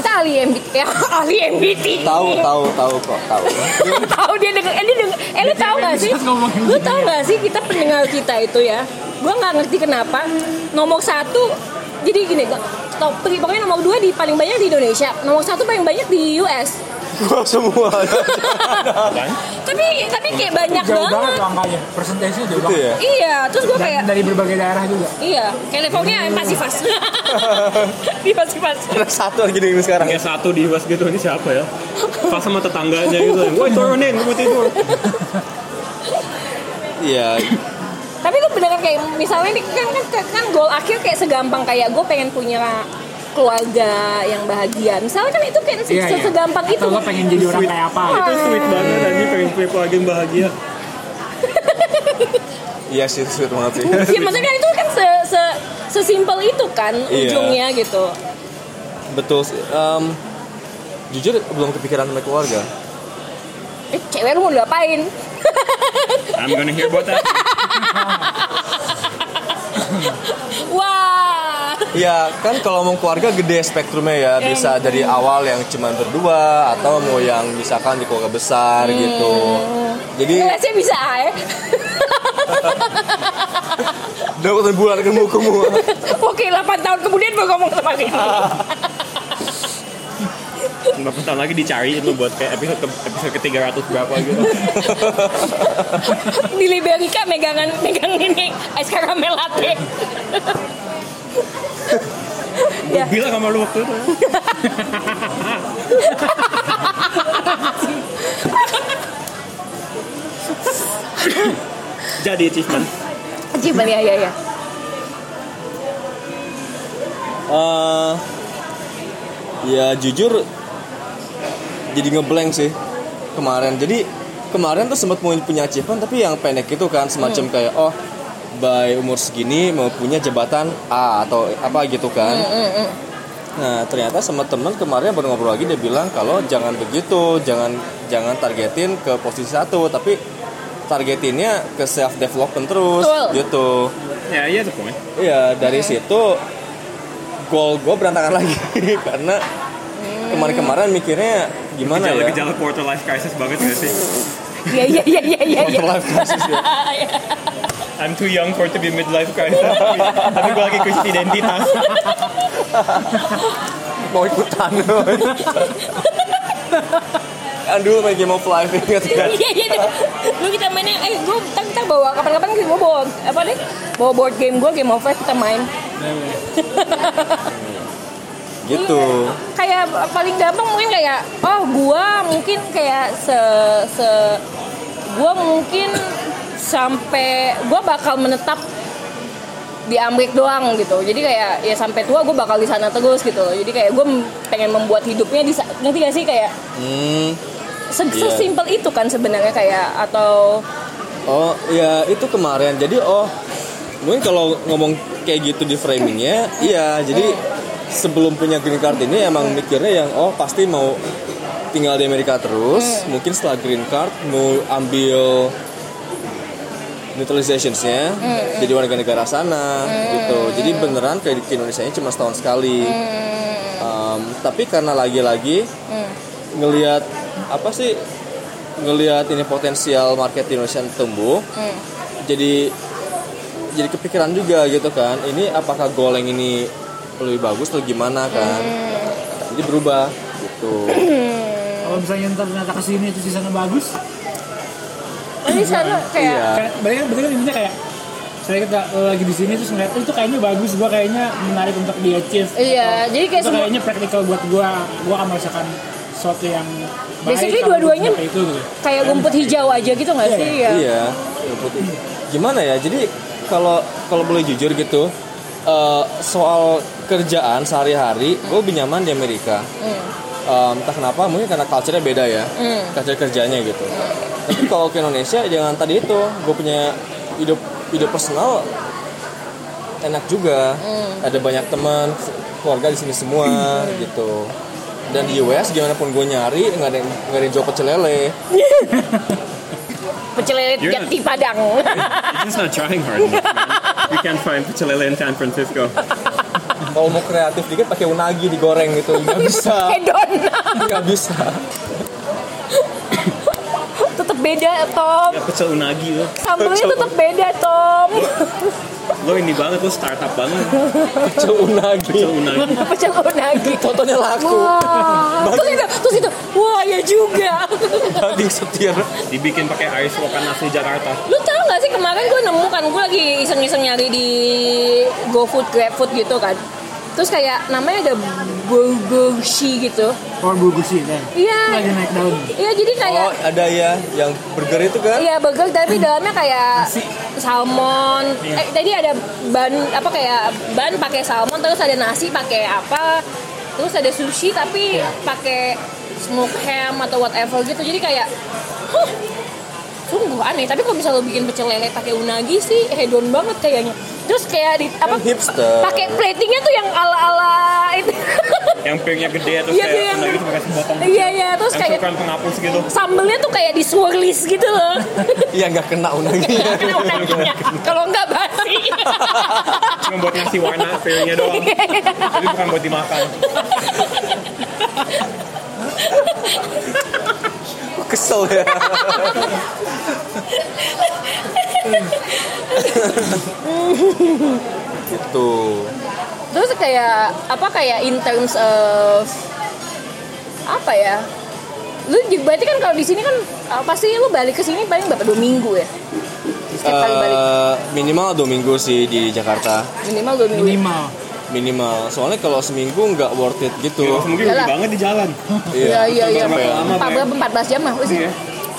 S1: kita ahli MBT ya ahli MBT
S4: Tahu
S1: Iya.
S4: tahu tahu kok tahu.
S1: Lu tahu dia denger, eh, dia denger, eh lu tahu gak sih?
S2: ngomongin
S1: Lu tahu gak sih kita pendengar kita itu ya? Gua nggak ngerti kenapa nomor satu jadi gini, gua- top three, pokoknya nomor dua di paling banyak di Indonesia, nomor satu paling banyak di US.
S4: Gua semua
S1: Tapi tapi kayak banyak
S2: Jauh
S1: banget.
S2: banget tuh angkanya, persentasenya jauh
S4: gitu
S2: banget.
S4: ya.
S1: Iya, terus gua
S2: Dan
S1: kayak
S2: dari berbagai daerah juga.
S1: iya, California yang pasti fast. di pasti fast.
S4: Ada satu lagi nih sekarang.
S3: kayak satu di was gitu ini siapa ya pas sama tetangganya gitu woi turunin gue mau tidur
S4: Iya.
S1: Tapi lu beneran kayak misalnya nih kan kan kan- kan goal akhir kayak segampang kayak gue pengen punya keluarga yang bahagia. Misalnya kan itu kan se-
S2: Iya, iya.
S1: segampang itu.
S2: Atau lo pengen jadi orang
S3: Sweet.
S2: kayak apa? gitu.
S3: itu sweet banget dan ini pengen punya keluarga yang bahagia
S4: Iya sih sweet banget sih.
S1: Ya maksudnya kan itu kan se se sesimpel itu kan
S4: Iya.
S1: ujungnya gitu.
S4: Betul. sih. Em, jujur belum kepikiran sama keluarga.
S1: eh, cewek lu mau ngapain
S3: I'm gonna hear about that.
S1: wah
S4: Ya kan kalau mau keluarga gede spektrumnya ya bisa dari awal yang cuman berdua atau mau yang misalkan di keluarga besar gitu. Jadi
S1: kelasnya bisa ya
S4: dapat bulan kemu kemu.
S1: oke 8 tahun kemudian mau ngomong sama kita
S3: Berapa tahun lagi dicari itu buat kayak episode ke, episode ke 300 berapa gitu.
S1: di Liberika megangan megang ini es karamel
S4: Iya.
S1: latte
S3: Gue bilang sama lu waktu itu. Jadi achievement.
S1: Gimana ya ya ya
S4: Eh, ya jujur jadi ngeblank sih kemarin. Jadi kemarin tuh sempat mau punya achievement tapi yang pendek itu kan semacam kayak oh by umur segini mau punya jabatan A atau apa gitu kan. Nah ternyata sama temen kemarin baru ngobrol lagi dia bilang kalau jangan begitu, jangan jangan targetin ke posisi satu tapi targetinnya ke self development terus
S1: Betul.
S4: gitu.
S3: Ya, iya tuh point.
S4: Iya dari situ goal gue berantakan lagi karena kemarin-kemarin mikirnya gimana ya?
S3: Gejala-gejala quarter life crisis banget gak sih?
S1: ya ya ya ya ya ya
S4: Quarter life crisis ya.
S3: I'm too young for to be midlife crisis. tapi, tapi gue lagi krisis identitas.
S4: mau ikutan. Aduh main game of life ingat kan?
S1: Iya iya iya. Lu kita mainnya eh gue kita, kita bawa kapan-kapan gue bawa apa nih? Bawa board game gue Game of Life kita main.
S4: Gitu.
S1: Iya. Kayak paling gampang mungkin kayak oh gua mungkin kayak se se gua mungkin sampai gua bakal menetap di Amrik doang gitu. Jadi kayak ya sampai tua gue bakal di sana terus gitu loh. Jadi kayak gue pengen membuat hidupnya di sa- ngerti gak sih kayak
S4: Hmm.
S1: se-
S4: Iya.
S1: sesimpel itu kan sebenarnya kayak atau
S4: Oh ya itu kemarin. Jadi oh mungkin kalau ngomong kayak gitu di framingnya, iya. Jadi sebelum punya green card ini emang mikirnya yang oh pasti mau tinggal di Amerika terus. Mungkin setelah green card mau ambil neutralizationnya jadi warga negara sana gitu. Jadi beneran kayak di Indonesia nya cuma setahun sekali. Um, tapi karena lagi-lagi ngelihat apa sih ngelihat ini potensial market di Indonesia yang tumbuh jadi jadi kepikiran juga gitu kan ini apakah goleng ini lebih bagus atau gimana kan jadi berubah gitu
S1: Iya.
S2: Kalau misalnya ntar ternyata kesini terus di sana bagus,
S1: kan di sana kayak
S4: iya
S2: kayak berarti kan berarti kan intinya kayak saya kita eh, lagi di sini terus ngeliat itu kayaknya bagus, gua kayaknya menarik untuk di achieve.
S1: Iya, jadi kayak
S2: itu
S1: semua
S2: kayaknya praktikal buat gua, gua akan merasakan sesuatu yang baik.
S1: Basically
S2: kalau gua
S1: dua-duanya-
S2: pakai itu gitu.
S1: kayak rumput hijau aja gitu nggak sih? Ya.
S4: iya ya putih. gimana ya jadi kalau kalau boleh jujur gitu eh, soal kerjaan sehari-hari gue lebih nyaman di Amerika Em, entah kenapa mungkin karena culture-nya beda ya culture kerjanya gitu tapi kalau ke Indonesia jangan tadi itu gue punya hidup hidup personal enak juga ada banyak teman keluarga di sini semua gitu dan di US gimana pun gue nyari nggak ada yang nggak ada yang jual pecel lele
S1: Pecel lele
S3: You're
S1: jati Padang.
S3: You're just not trying hard enough, man. You can't find Pichelele in San Francisco.
S4: kalau mau kreatif dikit pakai unagi digoreng gitu nggak bisa
S1: Hedon.
S4: nggak bisa
S1: tetap beda, Tom.
S3: Ya, pecel unagi lo.
S1: Sambelnya tetap beda, Tom.
S3: Lo ini banget, lo startup banget.
S4: pecel unagi
S3: Pecel unagi.
S1: Pecel unagi.
S4: contohnya laku
S1: Wah. Terus itu, terus itu. Wah, ya juga.
S4: banding setir
S3: Dibikin pakai air wokan asli Jakarta.
S1: Lu tahu nggak sih kemarin gue nemu kan gue lagi iseng-iseng nyari di GoFood, GrabFood gitu kan. Terus kayak namanya ada Bogoshi gitu.
S2: Kalau bagus sih kan. Lagi
S1: Iya.
S2: naik daun.
S1: Iya, jadi kayak
S4: oh ada ya yang burger itu kan
S1: Iya burger tapi
S3: Hmm.
S1: dalamnya kayak
S2: Nasi.
S1: salmon.
S3: Iya.
S1: Eh tadi ada ban apa kayak ban pakai salmon terus ada nasi pakai apa? Terus ada sushi
S3: Iya.
S1: tapi pakai smoked ham atau whatever gitu. Jadi kayak huh, sungguh aneh. Tapi kalau bisa lo bikin pecel lele pakai unagi sih hedon banget kayaknya. terus kayak di apa
S4: Kan hipster.
S3: eh,
S1: pakai platingnya tuh yang ala ala itu
S3: yang piringnya gede terus
S1: Iya,
S3: kayak
S1: iya.
S3: lagi cuma kasih botol
S1: iya iya terus
S3: yang
S1: kayak
S3: ukuran penghapus gitu
S1: sambelnya tuh kayak di swirlies gitu loh
S4: Iya nggak kena unangnya.
S1: karena unangnya Iya. kalau nggak basi
S3: cuma buat ngasih warna piringnya doang
S1: Iya.
S3: jadi bukan buat dimakan
S4: Kesel ya. Itu.
S1: terus kayak apa kayak in terms of apa ya lu juga- berarti kan kalau di sini kan uh, pasti lu balik ke sini paling berapa dua minggu ya setiap kali balik
S4: Eh, minimal dua minggu sih di Jakarta.
S1: minimal dua minggu ya?
S2: minimal
S4: Minimal. Soalnya kalau seminggu nggak worth it gitu.
S3: Terus mungkin rugi
S1: Iyalah.
S3: banget di jalan
S1: Iya iya iya.
S4: Sampai ya.
S3: Lama,
S1: Empat empat belas jam lah. wes.
S3: Iya.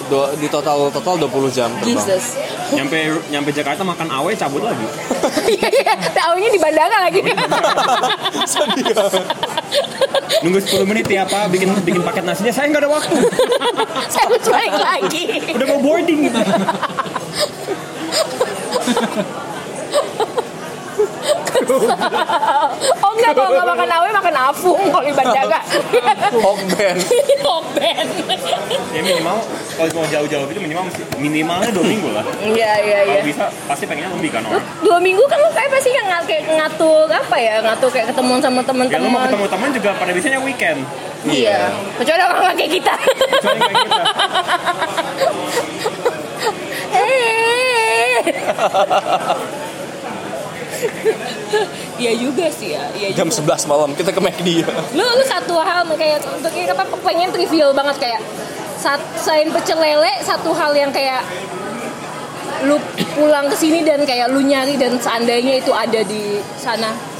S4: Dua- di total total 20 jam terbang.
S1: Jesus.
S3: nyampe nyampe Jakarta makan awe cabut lagi
S1: Iya iya. Tahunya di bandara lagi.
S3: nunggu 10 menit ya pak bikin bikin paket nasinya saya nggak ada waktu
S1: Saya harus balik lagi.
S3: udah mau boarding gitu
S1: Oh enggak kalau nggak makan awe makan afung kalau di bandara.
S4: Hokben.
S1: Open.
S3: ya minimal kalau mau jauh-jauh gitu minimal mesti- minimalnya dua minggu lah
S1: Iya iya iya.
S3: kalau bisa pasti pengennya lebih kan orang
S1: Dua minggu kan lu kayak pasti yang ngat- kayak ngatur apa ya ngatur kayak ketemuan sama
S3: ya lu mau
S1: teman-teman.
S3: ketemu teman juga pada biasanya weekend
S1: Iya. Kecuali orang kayak kita.
S3: Kecuali kayak gitu. kita.
S1: Eh. Iya juga sih ya. Iya
S4: Jam 11 malam kita ke McD ya.
S1: lu lu satu hal kayak untuk kayak apa pengen trivial banget kayak saat selain pecel lele satu hal yang kayak lu pulang ke sini dan kayak lu nyari dan seandainya itu ada di sana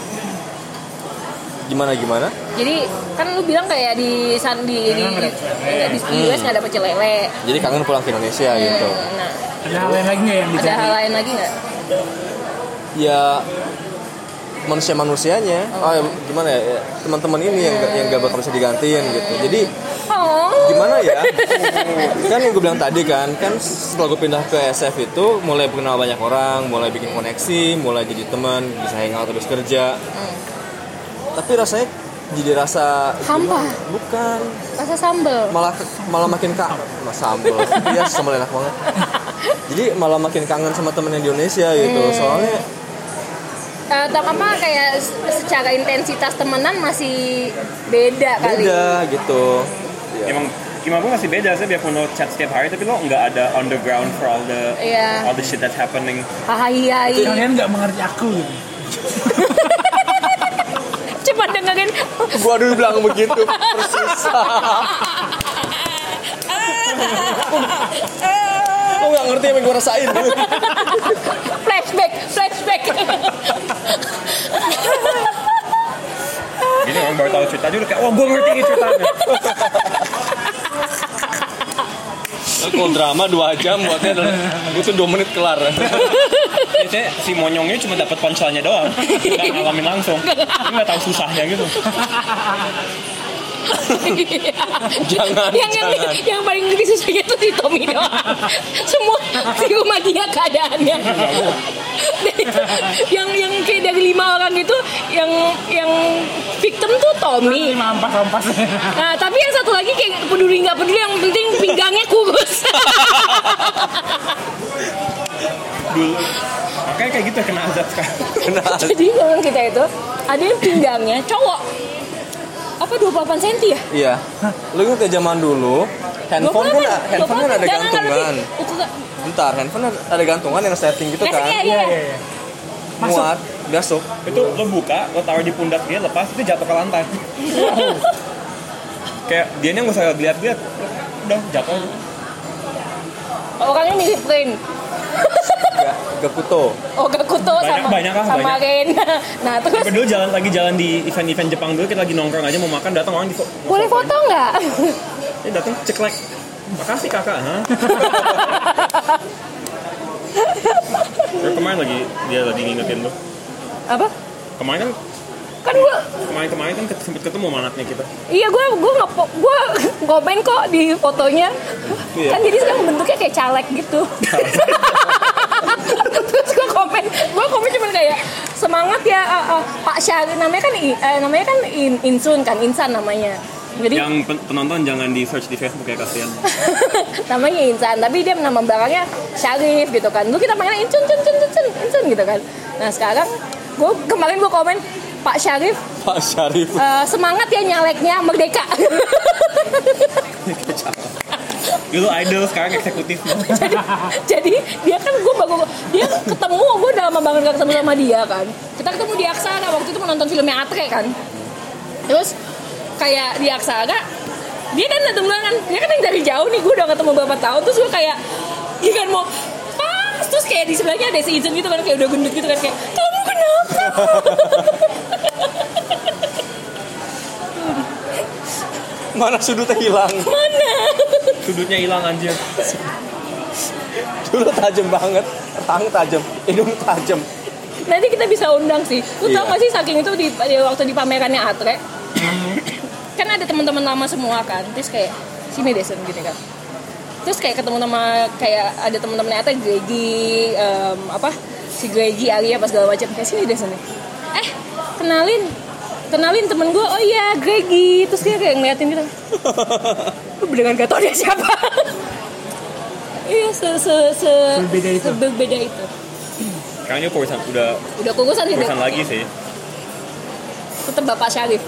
S4: Gimana gimana?
S1: jadi kan lu bilang kayak di san di di, di, di, di US nggak ada pecel lele
S4: Jadi kangen pulang ke Indonesia gitu.
S1: Hmm, nah
S2: ada hal lain lagi nggak yang
S1: ada hal
S2: dicari
S1: lain lagi nggak
S4: Ya manusia manusianya. Oh, ya, gimana ya? ya, Teman-teman ini yang nggak- yang gak bakal bisa digantiin gitu. Jadi
S1: oh
S4: gimana ya kan yang gue bilang tadi kan kan setelah gue pindah ke SF itu mulai kenal banyak orang mulai bikin koneksi mulai jadi teman bisa hangout terus kerja tapi rasanya jadi rasa
S1: Hampa.
S4: bukan
S1: rasa sambel
S4: malah malah makin kak mas sambel iya sambel enak banget jadi malah makin kangen sama temen yang di Indonesia gitu soalnya
S1: Eh, atau apa kayak secara intensitas temenan masih beda kali
S4: beda gitu Ya.
S3: emang gimana pun masih beda sih biarpun lo chat setiap hari tapi lo nggak ada on the ground for all the
S1: Iya.
S3: all the shit that's happening
S1: Hai-hai.
S2: kalian nggak mengerti aku gitu
S1: Cuma dengerin
S4: gua dulu bilang begitu persis Gua nggak ngerti apa yang gue rasain
S1: flashback, flashback.
S3: jadi orang baru tahu ceritanya udah kayak wah gue ngerti nih ceritanya
S4: kalau drama 2 jam buatnya butuh 2 menit kelar
S3: biasanya si monyongnya cuma dapat ponselnya doang nggak ngalamin langsung dia nggak tahu susahnya gitu
S4: Jangan,
S1: yang,
S4: jangan.
S1: Yang, yang paling ngeri susahnya itu si Tommy doang. Semua di rumah dia keadaannya. Dan itu, yang yang kayak dari lima orang itu yang yang victim tuh
S2: ini
S1: Tommy.
S2: mampas mampas
S1: Nah, tapi yang satu lagi kayak peduli nggak peduli yang penting pinggangnya kurus.
S3: dulu makanya kayak gitu kena azab sekarang
S4: Kenal.
S1: Jadi teman kita itu ada yang pinggangnya cowok apa 28 cm ya?
S4: iya lu inget ya zaman dulu handphone kan handphone kan ada gantungan bentar handphone ada gantungan yang setting gitu
S1: kan? Iya,
S4: kan
S1: iya.
S2: iya iya iya Masuk.
S4: muat masuk
S3: itu lo buka lo taruh di pundak dia lepas itu jatuh ke lantai kayak dia nggak usah lihat-lihat udah jatuh
S1: Orangnya mirip Rain.
S4: gak gakuto
S1: Oga Oh, Kuto
S3: Banyak,
S1: sama
S3: banyak lah,
S1: sama
S3: banyak.
S1: Rain. Nah, terus
S3: Sampai dulu jalan lagi jalan di event-event Jepang dulu kita lagi nongkrong aja mau makan datang orang di fo-
S1: boleh foto nggak?
S3: Ini datang Eh, ceklek. Makasih kakak. Hah? Terus Kan kemarin lagi dia lagi ngingetin tuh.
S1: apa?
S3: Kemarin kan
S1: Kan gua
S3: kemarin kemarin kan ket- sempet ketemu sama anaknya kita.
S1: iya gua gua nggak po- gua komen kok di fotonya.
S4: Iya.
S1: Kan jadi sekarang bentuknya kayak caleg gitu. terus gua komen, gua gue komen cuma kayak semangat ya ah, ah, Pak Syahri namanya kan I- eh, namanya kan In- Insun kan Insan namanya. Jadi
S3: Yang pen- penonton jangan di search di Facebook ya kasihan.
S1: namanya Insan tapi dia nama belakangnya Syarif gitu kan dulu kita panggilnya Incun Cun Cun Cun Cun Insun gitu kan nah sekarang gue kemarin gue komen Pak Syarif
S4: Pak Syarif
S1: eh, semangat ya nyaleknya merdeka
S3: Dulu idol sekarang eksekutif.
S1: jadi, jadi dia kan gue baru dia ketemu gue udah lama banget gak ketemu sama dia kan kita ketemu di Aksara waktu itu menonton filmnya Atre kan terus kayak di Aksara dia kan datang duluan kan dia kan yang dari jauh nih gue udah ketemu beberapa tahun terus gue kayak dia kan mau pas terus kayak di sebelahnya ada si Izun gitu kan kayak udah gendut gitu kan kayak kamu kenapa
S4: mana sudutnya hilang
S1: mana
S3: Sudutnya hilang anjir.
S4: dulu tajam banget tang tajam hidung tajam
S1: nanti kita bisa undang sih lu tau
S4: Iya.
S1: gak sih saking itu di, di waktu di pamerannya Atre
S2: Mm-hmm.
S1: kan ada teman-teman lama semua kan terus kayak sini deh Sun gini kan terus kayak ketemu sama kayak ada teman-temannya Atre Gregi em, apa si Gregi Arya pas segala macam kayak sini deh Sun eh kenalin kenalin temen gue oh iya Gregi terus dia kayak ngeliatin gitu lu beneran gak tau dia siapa iya se se se
S2: Berbeda itu.
S1: berbeda itu
S3: Sekarang dia kurusan udah
S1: udah kugusan sih
S3: kurusan
S1: dia.
S3: lagi sih.
S1: tetap Bapak Syarif.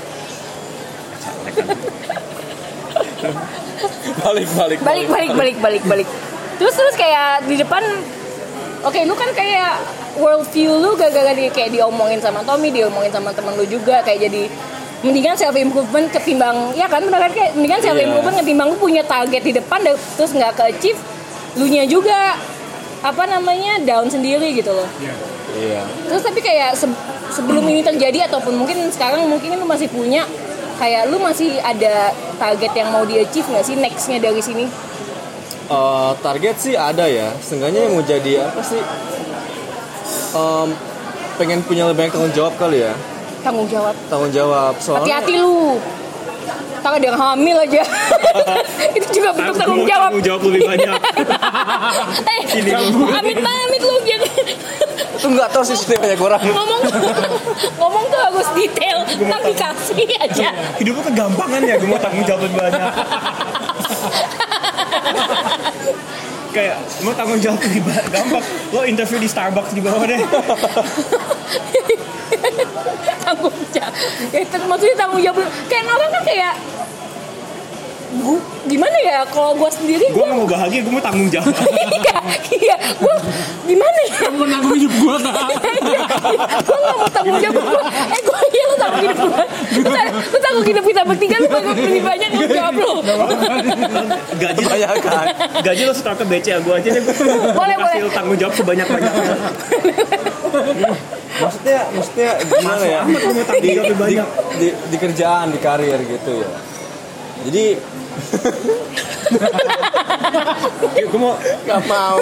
S4: balik balik
S1: Balik, balik, balik, balik, balik. Terus terus kayak di depan, oke lu kan kayak world view lu gara-gara di, kayak diomongin sama Tommy, diomongin sama temen lu juga kayak jadi mendingan self improvement ketimbang ya kan benar kan kayak mendingan self improvement ketimbang lu punya target di depan dan- terus nggak ke achieve lu nya juga apa namanya down sendiri gitu loh
S4: iya
S1: terus tapi kayak se- sebelum ini terjadi ataupun mungkin sekarang mungkin lu masih punya kayak lu masih ada target yang mau di achieve nggak sih nextnya dari sini
S4: Eh, target sih ada ya seenggaknya yang mau jadi apa sih Em, pengen punya lebih banyak tanggung jawab kali ya
S1: tanggung jawab
S4: tanggung jawab soalnya
S1: hati-hati lu tak ada yang hamil aja itu juga bentuk tanggung jawab
S3: Tanggung jawab lebih banyak.
S1: eh amit amit lu gitu
S4: itu nggak tahu sih sebenarnya banyak orang
S1: ngomong ngomong tuh harus detail tak dikasih aja
S3: Hidup lu kegampangan ya, gue mau tanggung jawab lebih banyak. Kayak mau tanggung jawab lebih ba- gampang. Lo interview di Starbucks di bawah deh.
S1: tanggung jawab ya, ter- maksudnya tanggung jawab lu. kayak orang kan kayak gua, gimana ya kalau gua sendiri
S3: Gue nggak mau bahagia, gue mau tanggung jawab.
S1: iya iya gue gimana ya Iya,
S2: Kamu menanggung hidup gue tak?
S1: gue gak mau tanggung jawab gue eh gue iya lu tanggung hidup gue lu, tang- lu tanggung hidup kita bertiga lu bakal lebih banyak lu jawab lu
S3: Gaji
S4: banyak kan
S3: gaji lo setor ke BC ya, gue aja deh.
S1: Boleh,
S3: Boleh,
S1: boleh.
S3: kasih lo tanggung jawab sebanyak banyaknya.
S4: maksudnya maksudnya gimana ya
S3: Amat lo mau tanggung jawab Iya, lebih
S4: di,
S3: banyak.
S4: di, di kerjaan di karir gitu ya jadi
S3: Gue mau
S4: nggak mau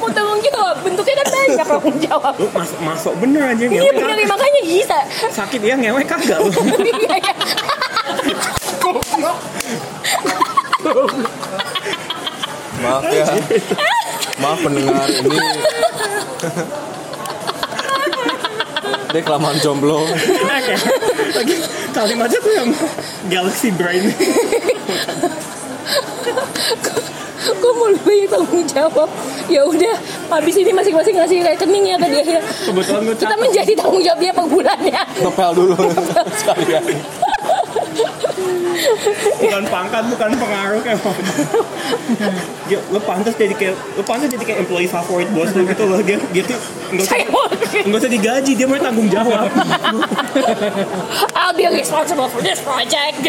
S1: mau tanggung jawab bentuknya kan banyak tanggung jawab
S3: lu masuk masuk bener aja
S1: iya bener
S3: ngewe
S1: iya.
S3: kagak.
S1: nih, makanya bisa
S3: sakit ya ngewe kagak lu.
S1: Iya, iya.
S4: maaf ya maaf pendengar ini dia kelamaan jomblo
S3: Lagi kalimatnya tuh yang galaxy brain.
S1: gue mau lebih tanggung jawab ya udah habis ini masing-masing ngasih rekening ya ke dia
S3: Kebetulan gue
S1: kita menjadi tanggung jawab dia per bulannya
S4: ngepel dulu sekalian
S3: bukan pangkat bukan pengaruh kayak ya, lu pantas jadi kayak lu pantas jadi kayak employee favorit bos lu gitu loh dia dia tuh nggak usah
S1: saya mau
S3: nggak usah digaji dia mau tanggung jawab
S1: I'll be responsible for this project.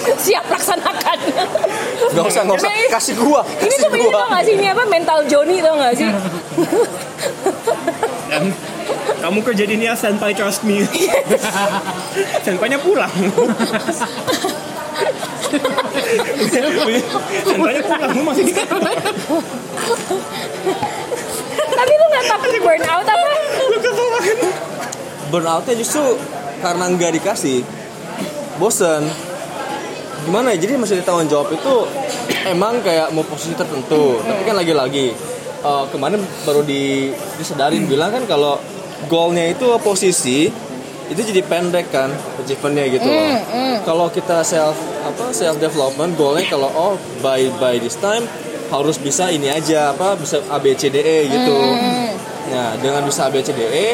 S1: Siap laksanakan.
S4: nggak usah nggak usah
S1: Ini-
S4: kasih gua
S1: Ini
S4: kasih
S1: tuh ini
S4: gua
S1: tau gak sih ini apa mental Joni tau gak sih?
S3: Dan, kamu kerja di Nia senpai trust me senpainya pulang senpainya pulang lu masih di
S1: Tapi lu gak takut burn out apa?
S3: lu kesalahan
S4: burnoutnya justru karena nggak dikasih bosen gimana ya jadi masih tanggung jawab itu emang kayak mau posisi tertentu tapi kan lagi-lagi eh, kemarin baru di disadarin bilang kan kalau goalnya itu posisi itu jadi pendek kan achievementnya gitu loh kalau kita self apa self development goalnya kalau oh by by this time harus bisa ini aja apa bisa ABCDE gitu Nah, dengan bisa ABCDE, E,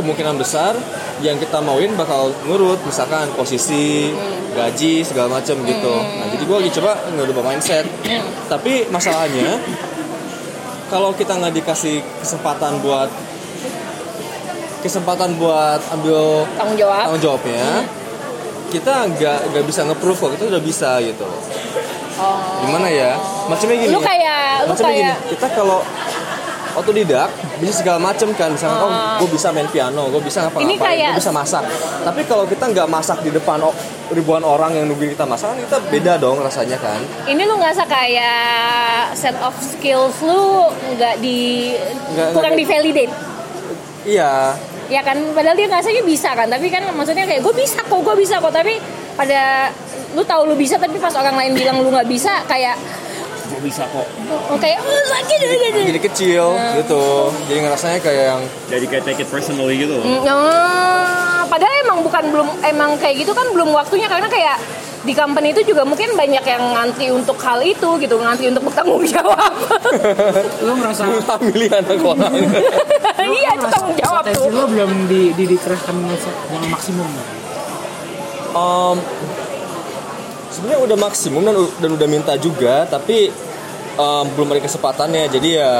S4: kemungkinan besar yang kita mauin bakal nurut, misalkan posisi, gaji, segala macam gitu.
S1: Hmm.
S4: Nah, jadi gue lagi coba ngerubah mindset. Tapi masalahnya, kalau kita nggak dikasih kesempatan buat kesempatan buat ambil
S1: Tanggung jawab.
S4: tanggung
S1: Hmm.
S4: jawabnya, kita nggak nggak bisa nge-proof kok kita udah bisa gitu. Gimana ya? Macamnya gini.
S1: Oh. Lu kayak- lu
S4: macamnya
S1: kayak-
S4: gini. Kita kalau otodidak bisa segala macam kan misalnya oh gue bisa main piano gue bisa
S1: Ah.
S4: ngapa
S1: Ini
S4: ngapain
S1: kayak-
S4: gue bisa masak tapi kalau kita nggak masak di depan o- ribuan orang yang nungguin kita masak kan kita beda dong rasanya kan
S1: Ini lu ngerasa kayak set of skills lu nggak di
S4: Nggak-
S1: kurang
S4: nggak-
S1: di validate.
S4: iya
S1: Ya kan padahal dia ngerasanya bisa kan, tapi kan maksudnya kayak gue bisa kok, gue bisa kok, tapi pada lu tahu lu bisa tapi pas orang lain bilang lu nggak bisa kayak
S2: gue bisa kok
S1: kayak oh sakit
S4: jadi kecil
S1: Ah.
S4: gitu jadi ngerasanya kayak yang
S3: Jadi kayak take it personally gitu loh.
S1: Mm, ah, padahal emang bukan belum emang kayak gitu kan belum waktunya karena kayak di company itu juga mungkin banyak yang ngantri untuk hal itu gitu ngantri untuk bertanggung jawab
S2: lo merasa
S4: milih anak orang
S2: kan
S1: iya itu tanggung jawab
S2: potensi
S1: tuh
S2: lo belum di, di dikerahkan yang maksimum
S4: Em, sebenarnya udah maksimum dan, u- dan udah minta juga tapi em, belum ada kesempatannya jadi ya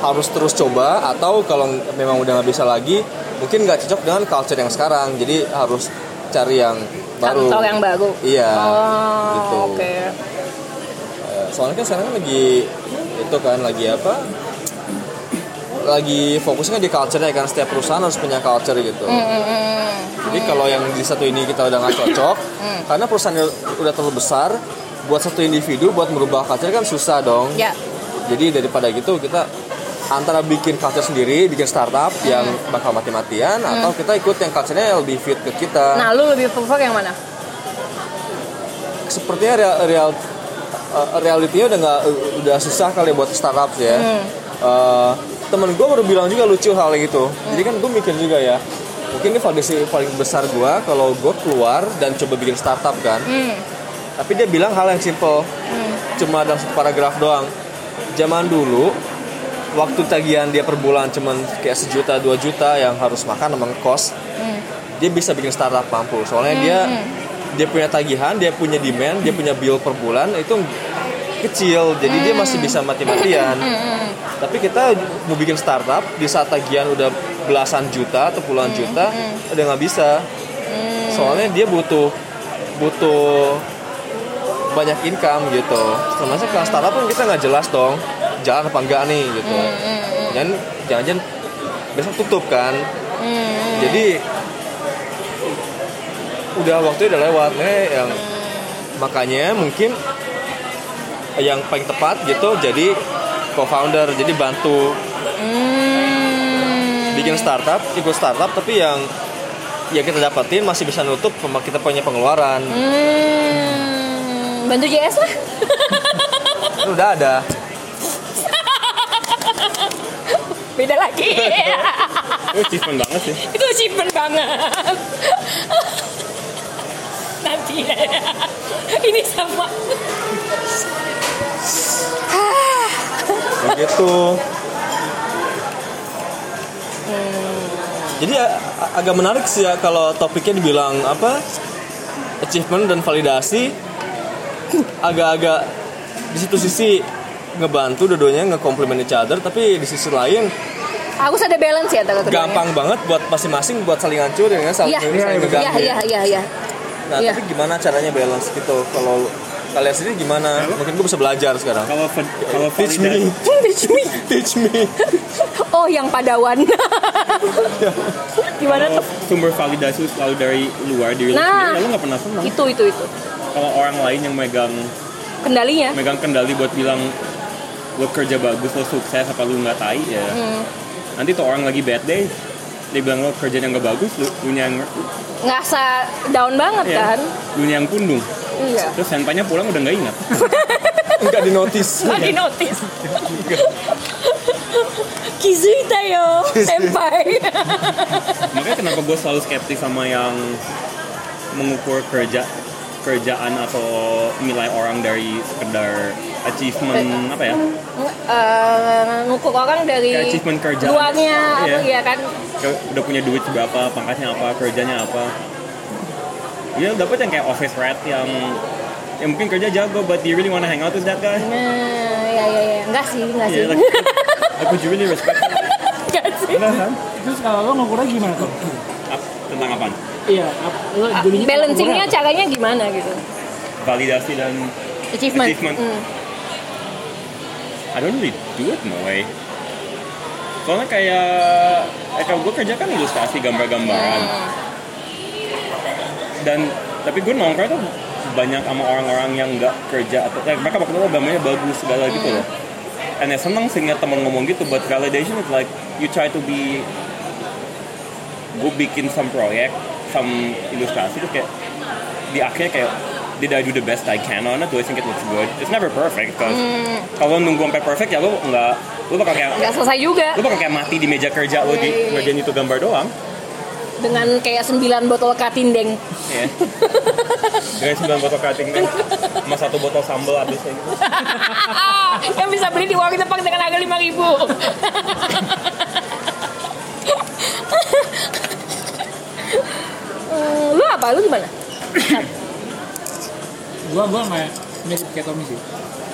S4: harus terus coba atau kalau memang udah nggak bisa lagi mungkin nggak cocok dengan culture yang sekarang jadi harus cari yang baru
S1: kantor yang baru
S4: iya
S1: oh
S4: gitu.
S1: oke
S4: Eh, soalnya kan sekarang kan lagi itu kan lagi apa lagi fokusnya di culture ya kan setiap perusahaan harus punya culture gitu
S1: Mm-mm.
S4: Jadi kalau yang di satu ini kita udah nggak cocok, karena perusahaannya udah terlalu besar, buat satu individu buat merubah culture kan susah dong.
S1: ya
S4: Jadi daripada gitu kita antara bikin culture sendiri, bikin startup yang bakal mati-matian, atau kita ikut yang culture-nya lebih fit ke kita.
S1: nah lu lebih prefer yang mana
S4: Sepertinya real, real eh, realitinya udah nggak udah susah kali buat startup ya. Eh, temen gue baru bilang juga lucu hal gitu. Jadi kan gue mikir juga ya. Mungkin ini validasi paling besar gue kalau gue keluar dan coba bikin startup kan.
S1: Hmm.
S4: Tapi dia bilang hal yang simple, cuma dalam satu paragraf doang. Zaman dulu, waktu tagihan dia per bulan cuman kayak sejuta dua juta yang harus makan sama kos, dia bisa bikin startup mampu. Soalnya dia dia punya tagihan, dia punya demand, dia punya bill per bulan itu kecil, jadi dia masih bisa mati-matian. Tapi kita mau bikin startup di saat tagihan udah belasan juta atau puluhan juta, udah nggak bisa. Soalnya dia butuh butuh banyak income gitu. Sebenarnya kalau startup pun kita nggak jelas dong jalan apa enggak nih gitu. Dan jangan-jangan besok tutup kan. Jadi udah waktunya udah lewat nih yang makanya mungkin yang paling tepat gitu jadi co-founder jadi bantu bikin startup ikut startup tapi yang ya kita dapetin masih bisa nutup pem- kita punya pengeluaran
S1: Hmm, bantu JS lah
S4: Kan udah ada
S1: beda lagi
S3: Itu achievement banget sih.
S1: itu achievement banget nanti ya ini sama
S4: begitu
S1: Hmm.
S4: jadi a- a- agak menarik sih ya kalau topiknya dibilang apa achievement dan validasi agak-agak di situ sisi ngebantu dua-duanya nge-complement each other tapi di sisi lain
S1: harus ada balance ya antara keduanya.
S4: gampang banget buat masing-masing buat saling hancur ya nggak? saling,
S1: iya
S4: saling ngeganggu.
S1: iya iya iya iya
S4: nah
S1: iya.
S4: tapi gimana caranya balance gitu kalau kalian sendiri gimana mungkin gue bisa belajar sekarang
S3: Kalau val- kalau
S4: teach me
S3: validasi,
S1: Teach me.
S4: Hmm, teach me
S1: oh yang padawan gimana
S3: kalau
S1: tuh
S3: sumber validasi selalu dari luar diri lu
S1: Nah.
S3: sendiri, ya lu nggak pernah senang.
S1: itu itu itu
S3: Kalau orang lain yang megang
S1: kendalinya
S3: megang kendali buat bilang lo kerja bagus, lo sukses, apa lu nggak tai ya. Nanti tuh orang lagi bad day, dibilang lo kerjaan yang gak bagus lu punya yang
S1: Ngerasa down banget
S4: Iya.
S3: ya,
S1: kan?
S3: dunia yang pundung
S1: Iya.
S3: terus handphonenya pulang udah nggak ingat
S4: nggak di notice
S1: Nggak di notice. Kizuita yo, senpai.
S3: makanya kenapa gue selalu skeptis sama yang mengukur kerja kerjaan atau nilai orang dari sekedar achievement apa ya
S1: Eh, ngukur orang dari
S3: Kayak achievement kerjaan.
S1: luarnya
S3: Iya.
S1: atau ya kan
S3: Kayak udah punya duit berapa pangkatnya apa kerjanya apa ya dapat yang kayak office rat yang yang mungkin kerja jago but you really wanna hang out with that guy
S1: nah ya ya ya enggak sih enggak sih
S3: yeah, like, aku really respect him.
S1: enggak sih
S3: Bener, kan?
S2: Terus kalau lo ngukurnya gimana tuh?
S3: Ap- tentang apa
S2: Iya, ap- lo
S1: Ah,
S2: jadinya
S1: balancingnya
S2: ngukurnya apa?
S1: caranya gimana gitu
S3: validasi dan
S1: achievement,
S3: Achievement.
S1: Hmm.
S3: I don't really do it in a way soalnya kayak eh, kalau gue kerja kan ilustrasi gambar-gambaran dan tapi gue nongkrong tuh banyak sama orang-orang yang nggak kerja atau kayak mereka waktu itu gambarnya bagus segala gitu loh and ya seneng sih ngeliat temen ngomong gitu but validation is like you try to be gue bikin some project some ilustrasi tuh kayak di akhirnya kayak did I do the best I can on it? Do I think it looks good? It's never perfect. 'cause Kalau nunggu sampai perfect ya lo nggak, lo bakal kayak
S1: nggak selesai juga
S3: lo bakal kayak mati di meja kerja lo
S1: Iya,
S3: di
S1: iya, iya.
S3: ngerjain itu gambar doang.
S1: dengan kayak 9 botol katindeng
S3: Iya. Dari sembilan botol cutting kan, sama satu botol sambal habisnya gitu.
S1: Ah, yang bisa beli di warung Jepang dengan harga 5000 ribu Eh, lu apa lu gimana
S2: Gua gua nggak mirip kayak Tommy sih.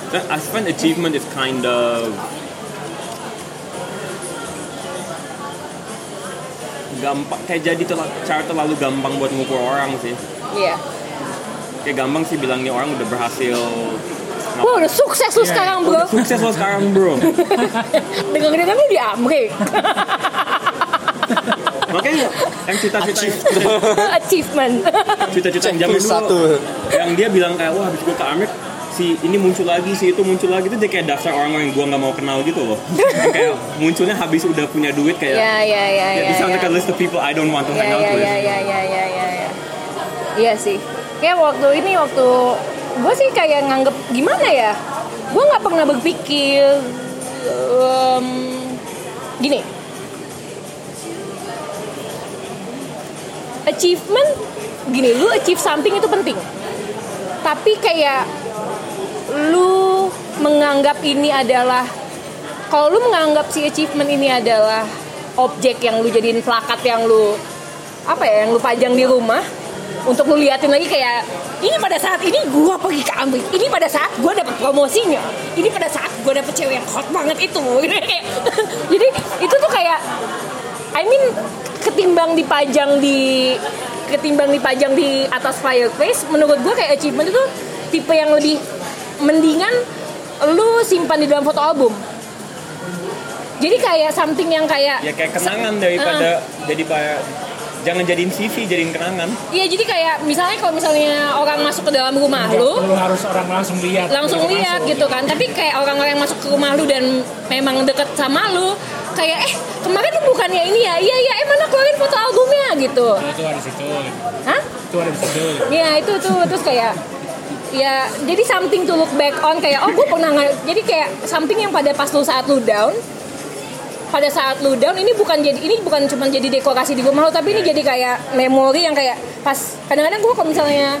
S3: Nah, I find achievement is kind of gampang kayak jadi terla- cara terlalu gampang buat ngukur orang sih
S1: iya
S3: kayak gampang sih bilangnya orang udah berhasil
S1: Wah udah sukses lu
S2: Iya,
S1: sekarang bro
S3: Udah sukses lo sekarang bro
S1: Dengar-dengar lu di Amrik
S3: makanya yang cita-cita
S1: Achievement
S3: cita-cita yang zaman
S4: plus
S3: dulu
S4: satu
S3: yang dia bilang kayak wah habis gue ke Amerika si ini muncul lagi si itu muncul lagi itu dia kayak daftar orang-orang yang gua nggak mau kenal gitu loh Yang kayak munculnya habis udah punya duit kayak
S1: Ya ya ya
S3: yeah,
S1: ya
S3: this sounds
S1: ya.
S3: like a list of people I don't want
S1: Ya
S3: to hang out
S1: ya
S3: with
S1: ya ya ya ya ya ya. Iya sih. Kayak waktu ini waktu gue sih kayak nganggep gimana ya? Gue nggak pernah berpikir em, gini. Achievement gini, lu achieve something itu penting. Tapi kayak lu menganggap ini adalah kalau lu menganggap si achievement ini adalah objek yang lu jadiin plakat yang lu apa ya yang lu pajang di rumah untuk lu liatin lagi kayak ini pada saat ini gua pergi ke Amrik ini pada saat gua dapet promosinya ini pada saat gua dapet cewek yang hot banget itu Kayak- jadi itu tuh kayak I mean ketimbang dipajang di ketimbang dipajang di atas fireplace menurut gua kayak achievement itu tipe yang lebih mendingan lu simpan di dalam foto album jadi kayak something yang kayak
S3: ya kayak kenangan daripada
S1: Ah.
S3: jadi kayak jangan jadiin CV jadiin kenangan
S1: Iya jadi kayak misalnya kalau misalnya orang masuk ke dalam rumah
S2: Nggak
S1: Ah, lu
S2: perlu harus orang langsung lihat. Iya,
S1: langsung
S2: Langsung.
S1: lihat gitu kan tapi kayak orang-orang yang masuk ke rumah lu dan memang deket sama lu kayak eh kemarin lu bukannya ini ya iya iya eh mana keluarin foto albumnya gitu
S2: Oh, Itu ada di situ.
S1: hah
S2: Itu ada di situ.
S1: ya itu tuh terus kayak ya jadi something to look back on kayak oh gue pernah nggak jadi kayak something yang pada pas lu saat lu down pada saat lu down ini bukan jadi ini bukan cuma jadi dekorasi di rumah lo tapi ini jadi kayak memori yang kayak pas kadang-kadang gue kalau misalnya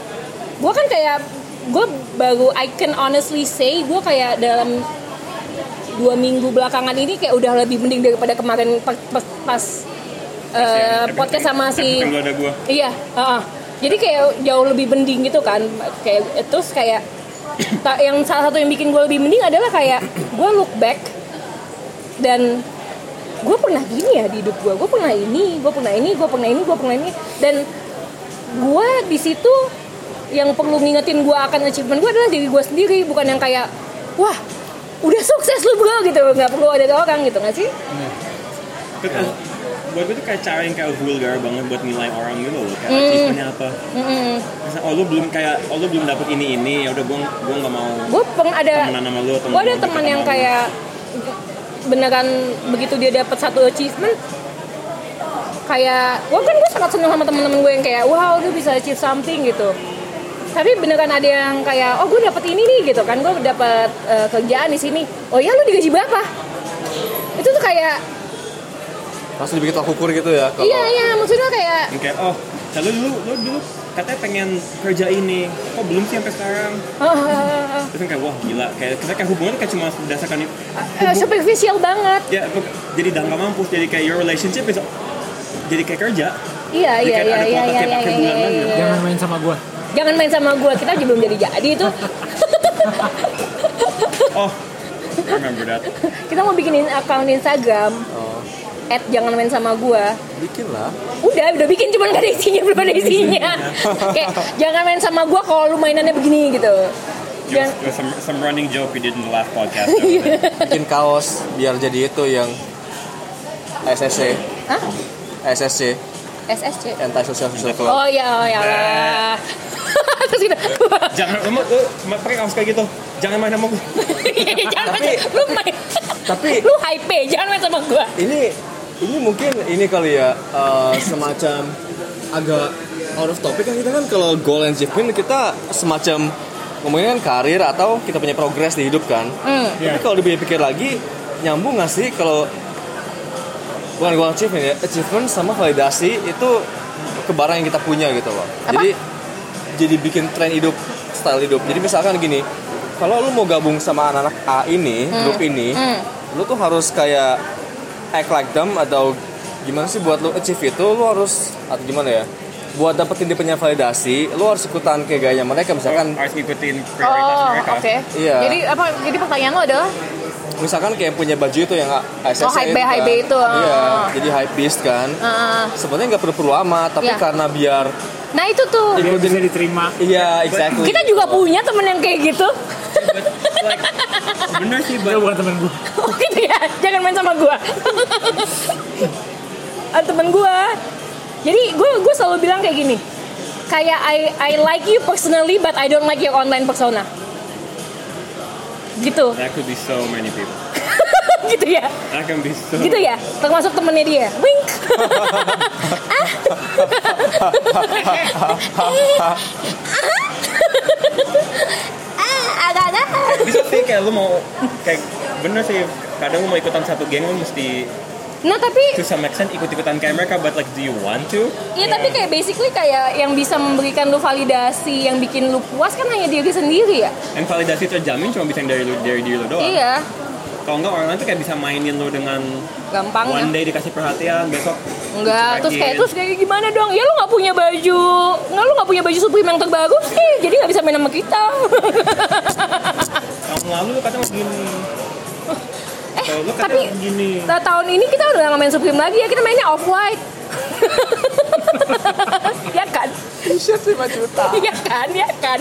S1: gue kan kayak gue baru I can honestly say gue kayak dalam dua minggu belakangan ini kayak udah lebih mending daripada kemarin pas, pas- pas, eh, podcast sama si
S3: Yang ada gua
S1: Iya, heeh. jadi kayak jauh lebih mending gitu kan, kayak terus kayak ta- yang salah satu yang bikin gue lebih mending adalah kayak gue look back dan gue pernah gini ya di hidup gue, gue pernah ini, gue pernah ini, gue pernah ini, gue pernah ini dan gue di situ yang perlu ngingetin gue akan achievement gue adalah diri gue sendiri bukan yang kayak wah udah sukses lu bro gitu nggak perlu ada orang gitu nggak sih?
S3: Itu
S1: Iya.
S3: kan- buat gue tuh kayak cara yang kayak vulgar banget buat nilai orang gitu loh kayak
S1: Hmm.
S3: achievementnya apa Misalnya, oh lu belum kayak oh lu belum dapet ini ini ya udah gua gua nggak mau
S1: Gue pernah ada
S3: temenan sama
S1: gue
S3: lu atau
S1: Iya. ada
S3: nggak mau
S1: teman
S3: deket
S1: yang
S3: sama lu.
S1: kayak beneran begitu dia dapat satu achievement kayak wah kan gue sangat seneng sama temen-temen gue yang kayak wow gue bisa achieve something gitu tapi beneran ada yang kayak oh gue dapet ini nih gitu kan gue dapet eh, kerjaan di sini oh ya lu digaji berapa itu tuh kayak
S4: langsung dibikin tolak ukur gitu ya kalau
S1: iya iya maksudnya kayak
S3: Yang kayak oh lalu dulu lu dulu katanya pengen kerja ini kok belum sih sampai sekarang
S1: "Ah,
S3: terus kan kayak wah gila kayak kita kayak hubungan tuh kayak cuma berdasarkan itu
S1: eh, superficial banget
S3: ya bu- jadi dangka mampus jadi kayak your relationship is jadi kayak kerja
S1: iya
S3: Jadi
S1: iya
S3: kayak
S1: iya
S3: ada
S1: iya
S3: kuota
S1: iya
S3: tiap
S1: iya
S3: akhir
S1: iya
S3: bulanan
S1: iya,
S3: gitu.
S1: iya.
S2: jangan main sama gue
S1: jangan main sama gue kita aja belum jadi jadi itu
S3: oh I remember that
S1: kita mau bikinin account Instagram
S4: oh,
S1: at jangan main sama gua
S4: bikin lah
S1: udah udah bikin cuman gak ada isinya belum ada isinya kayak jangan main sama gua kalau lu mainannya begini gitu
S3: There was,
S1: Jangan-
S3: there was some, some running joke we did in the last podcast There was
S4: bikin kaos biar jadi itu yang SSC
S1: Hah?
S4: SSC
S1: SSC
S4: anti social social club
S1: oh ya oh ya lah. terus gitu
S3: a- jangan lu lu ma- pakai kaos kayak gitu jangan main sama gue
S1: jangan main
S4: Tapi-
S1: lu main
S4: tapi-
S1: lu hype jangan main sama gua
S4: ini ini mungkin ini kali ya eh, semacam agak out of topic kan kita kan kalau goal and achievement kita semacam ngomongin kan karir atau kita punya progres di hidup kan
S1: Hmm.
S2: Iya.
S4: tapi kalau dipikir-pikir lagi nyambung nggak sih kalau bukan goal and achievement ya achievement sama validasi itu ke barang yang kita punya gitu loh
S1: Apa?
S4: jadi jadi bikin tren hidup style hidup jadi misalkan gini kalau lu mau gabung sama anak-anak A ini grup ini
S1: hmm.
S4: lu tuh harus kayak act like them atau gimana sih buat lu achieve itu lu harus atau gimana ya buat dapetin dia punya validasi lu harus ikutan kayak gayanya mereka misalkan
S3: harus ngikutin prioritas
S1: oh
S3: mereka
S1: oke
S4: Iya.
S1: jadi apa jadi pertanyaan lo adalah
S4: misalkan kayak punya baju itu yang ASS
S1: Oh, hype-
S4: kan.
S1: hype itu, ah.
S4: iya jadi hype beast kan
S1: ah,
S4: sebenarnya nggak perlu-perlu amat tapi
S1: Iya.
S4: karena biar
S1: nah itu tuh
S2: biar bisa diterima
S4: iya exactly
S1: kita juga punya temen yang kayak gitu
S3: But, like, bener sih
S2: dia
S3: but
S2: bukan temen gue
S1: Oh gitu ya, jangan main sama gua. Ah, Temen gua. Jadi gue gue selalu bilang kayak gini. Kayak I I like you personally but I don't like your online persona. Gitu.
S3: that could be so many people
S1: gitu ya.
S3: that can be so
S1: Gitu ya. Termasuk temennya dia. Wink. ah. Agak-agak.
S3: bisa sih kayak lu mau kayak bener sih kadang lu mau ikutan satu geng lu mesti
S1: Nah, tapi
S3: to some extent ikut-ikutan kayak mereka but like do you want to
S1: Iya tapi kayak basically kayak yang bisa memberikan lu validasi, yang bikin lu puas kan hanya diri sendiri ya.
S3: and validasi terjamin cuma bisa yang dari lu dari diri lu doang
S1: Iya,
S3: kalau enggak orang lain tuh kayak bisa mainin lu dengan one
S1: gampang. ya?
S3: day dikasih perhatian besok
S1: Enggak, terus kayak
S3: rajin.
S1: terus kayak gimana dong? Ya lu nggak punya baju, nggak lu nggak punya baju Supreme yang terbaru sih, jadi nggak bisa main sama kita.
S3: tahun lalu lu katanya begini
S1: eh,
S3: Kalau lu katanya
S1: tapi
S3: begini
S1: ta- Nah, tahun ini kita udah nggak main Supreme lagi ya, kita mainnya off white. ya kan?
S4: t-shirt 5 juta
S1: Iya kan, ya kan.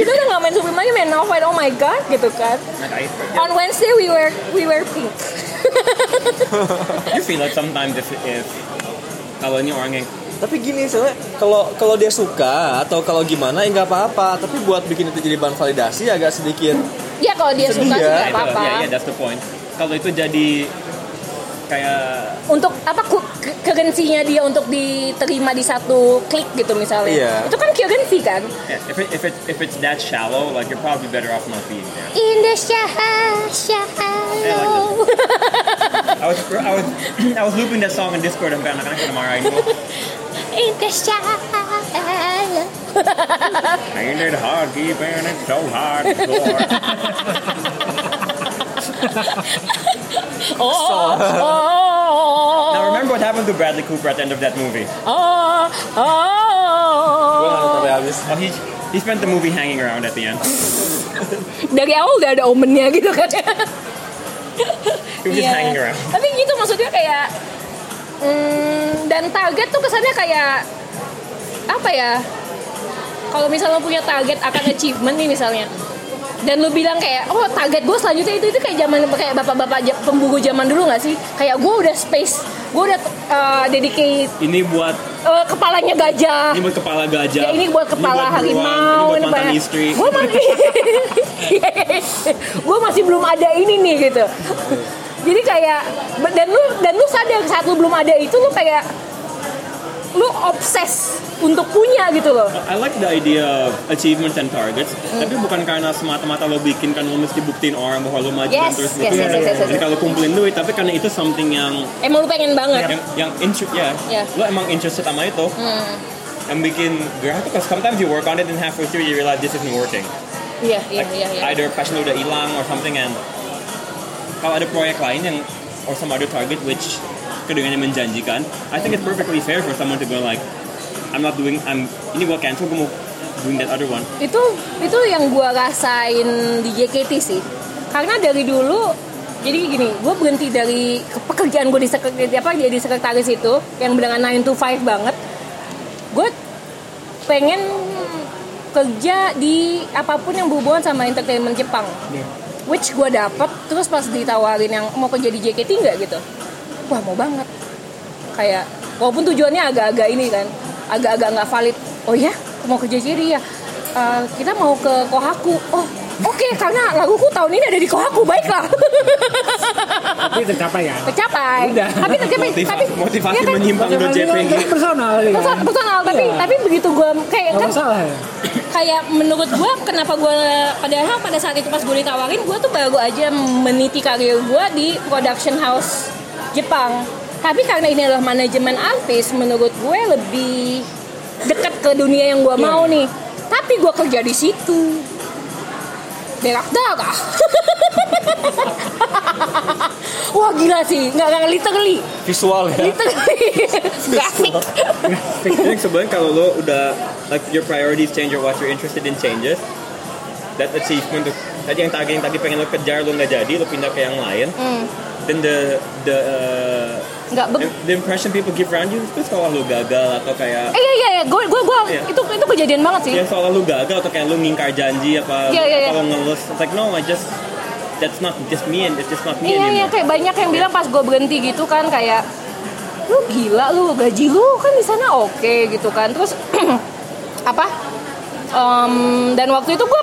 S1: kita udah nggak main Supreme lagi, main off white. Oh my god, gitu kan.
S3: nah kayak
S1: On Wednesday we wear we wear pink.
S3: you feel like sometimes if, if kalau ini orang yang
S4: tapi gini soalnya kalau kalau dia suka atau kalau gimana ya nggak apa-apa tapi buat bikin itu jadi bahan validasi agak sedikit
S1: Ya kalau dia
S4: Sedih
S1: suka
S4: ya.
S1: sih
S3: Nah,
S1: nggak
S3: itu,
S1: apa-apa.
S3: ya, ya, that's the point kalau itu jadi kayak
S1: Untuk apa ku- ke- kerensinya dia untuk diterima di satu klik gitu misalnya.
S4: Iya.
S1: Itu kan kerensi kan.
S3: yeah, if, it, if, it, if it's that shallow like you're probably better off not being there
S1: Indonesia
S3: shallow. I was I was I was looping that song in Discord sampai anak-anak pada marahin gue
S1: Indonesia
S3: Ain't it hard keeping it so hardcore
S1: Oh, oh, oh,
S3: Now remember what happened to Bradley Cooper at the end of that movie?
S1: oh,
S4: gue nggak ya. tahu
S1: oh.
S4: sampai habis
S3: Oh, he he spent the movie hanging around at the end.
S1: Dari awal udah ada omennya gitu kan.
S3: He was just
S1: Iya.
S3: hanging around.
S1: Tapi gitu maksudnya kayak mm, dan target tuh kesannya kayak apa ya? Kalau misalnya lo punya target akan achievement nih misalnya. Dan lu bilang kayak, oh target gue selanjutnya itu itu kayak zaman kayak bapak-bapak ja- pemburu zaman dulu nggak sih? Kayak gue udah space, gue udah uh, dedicate
S3: Ini buat
S1: uh, kepalanya gajah.
S3: Iya. ini buat kepala gajah.
S1: Ya, ini buat kepala
S3: buruan,
S1: harimau,
S3: Ini buat mantan istri.
S1: Gue masih, gue masih belum ada ini nih gitu. jadi kayak dan lu dan lu sadar saat lu belum ada itu lu kayak lu obses untuk punya gitu loh
S3: I like the idea of achievements and targets, tapi bukan karena semata-mata lo bikin kan lo mesti buktiin orang bahwa lo maju
S1: yes
S3: dan terus
S1: yes yes
S3: gitu.
S1: yes, yes, yes,
S3: Jadi
S1: yes.
S3: kalau kumpulin duit, tapi karena itu something yang
S1: emang lu pengen banget
S3: yang yang interest ya,
S1: Yeah.
S3: lo emang interested sama itu. Yang bikin gerah tuh, 'cause sometimes you work on it and halfway through you realize this isn't working.
S1: iya iya
S3: Like,
S1: iya iya.
S3: Either passion lo udah hilang or something and kalau ada proyek lain yang or some other target which kedengarannya menjanjikan, I think it's perfectly fair for someone to go like, I'm not doing, I'm ini gua cancel, gua mau doing that other one.
S1: itu itu yang gua rasain di JKT sih karena dari dulu jadi gini gue berhenti dari ke- pekerjaan gue di sekretaris apa jadi sekretaris itu yang dengan 9 to 5 banget gue pengen kerja di apapun yang berhubungan sama entertainment Jepang which gue dapet terus pas ditawarin yang mau kerja di JKT nggak gitu wah mau banget kayak walaupun tujuannya agak-agak ini kan agak-agak nggak valid oh ya mau kerja sendiri ya Eh, kita mau ke Kohaku oh oke karena laguku tahun ini ada di Kohaku baiklah
S2: tapi tercapai ya
S1: tercapai
S2: Udah.
S1: tapi tercapai
S3: Motiva-
S1: tapi
S3: motivasi
S1: ya kan,
S3: menyimpang
S2: Tapi
S3: do
S2: kan
S3: JPG.
S2: itu personal ya kan?
S1: perso- personal tapi
S2: Iya.
S1: tapi begitu gue kayak
S2: Gak
S1: kan
S2: masalah ya
S1: kayak menurut gue kenapa gue padahal pada saat itu pas gue ditawarin gue tuh baru aja meniti karir gue di production house Jepang tapi karena ini adalah manajemen artis menurut gue lebih dekat ke dunia yang gue
S4: Iya.
S1: mau nih tapi gue kerja di situ berak darah wah gila sih nggak nggak literally
S4: visual ya
S1: literally grafik
S3: I think sebenarnya kalau lo udah like your priorities change or what you're interested in changes, that achievement tuh- tadi yang tadi yang tadi pengen lo kejar lo nggak jadi lo pindah ke yang lain, then the the uh,
S1: nggak Hmm. be-
S3: the impression people give around you itu seolah lo gagal atau kayak
S1: eh iya iya iya gue gue gue
S3: Iya.
S1: itu itu kejadian banget sih
S3: ya seolah lo gagal atau kayak lo ngingkar janji apa
S1: Iya, iya, iya.
S3: kalau ngelus it's like no I just that's not just me and it's just not
S1: Iya
S3: me
S1: iya
S3: anymore.
S1: kayak banyak yang bilang pas gue berhenti gitu kan kayak lu gila lu gaji lu kan di sana oke gitu kan terus apa Em, dan waktu itu gue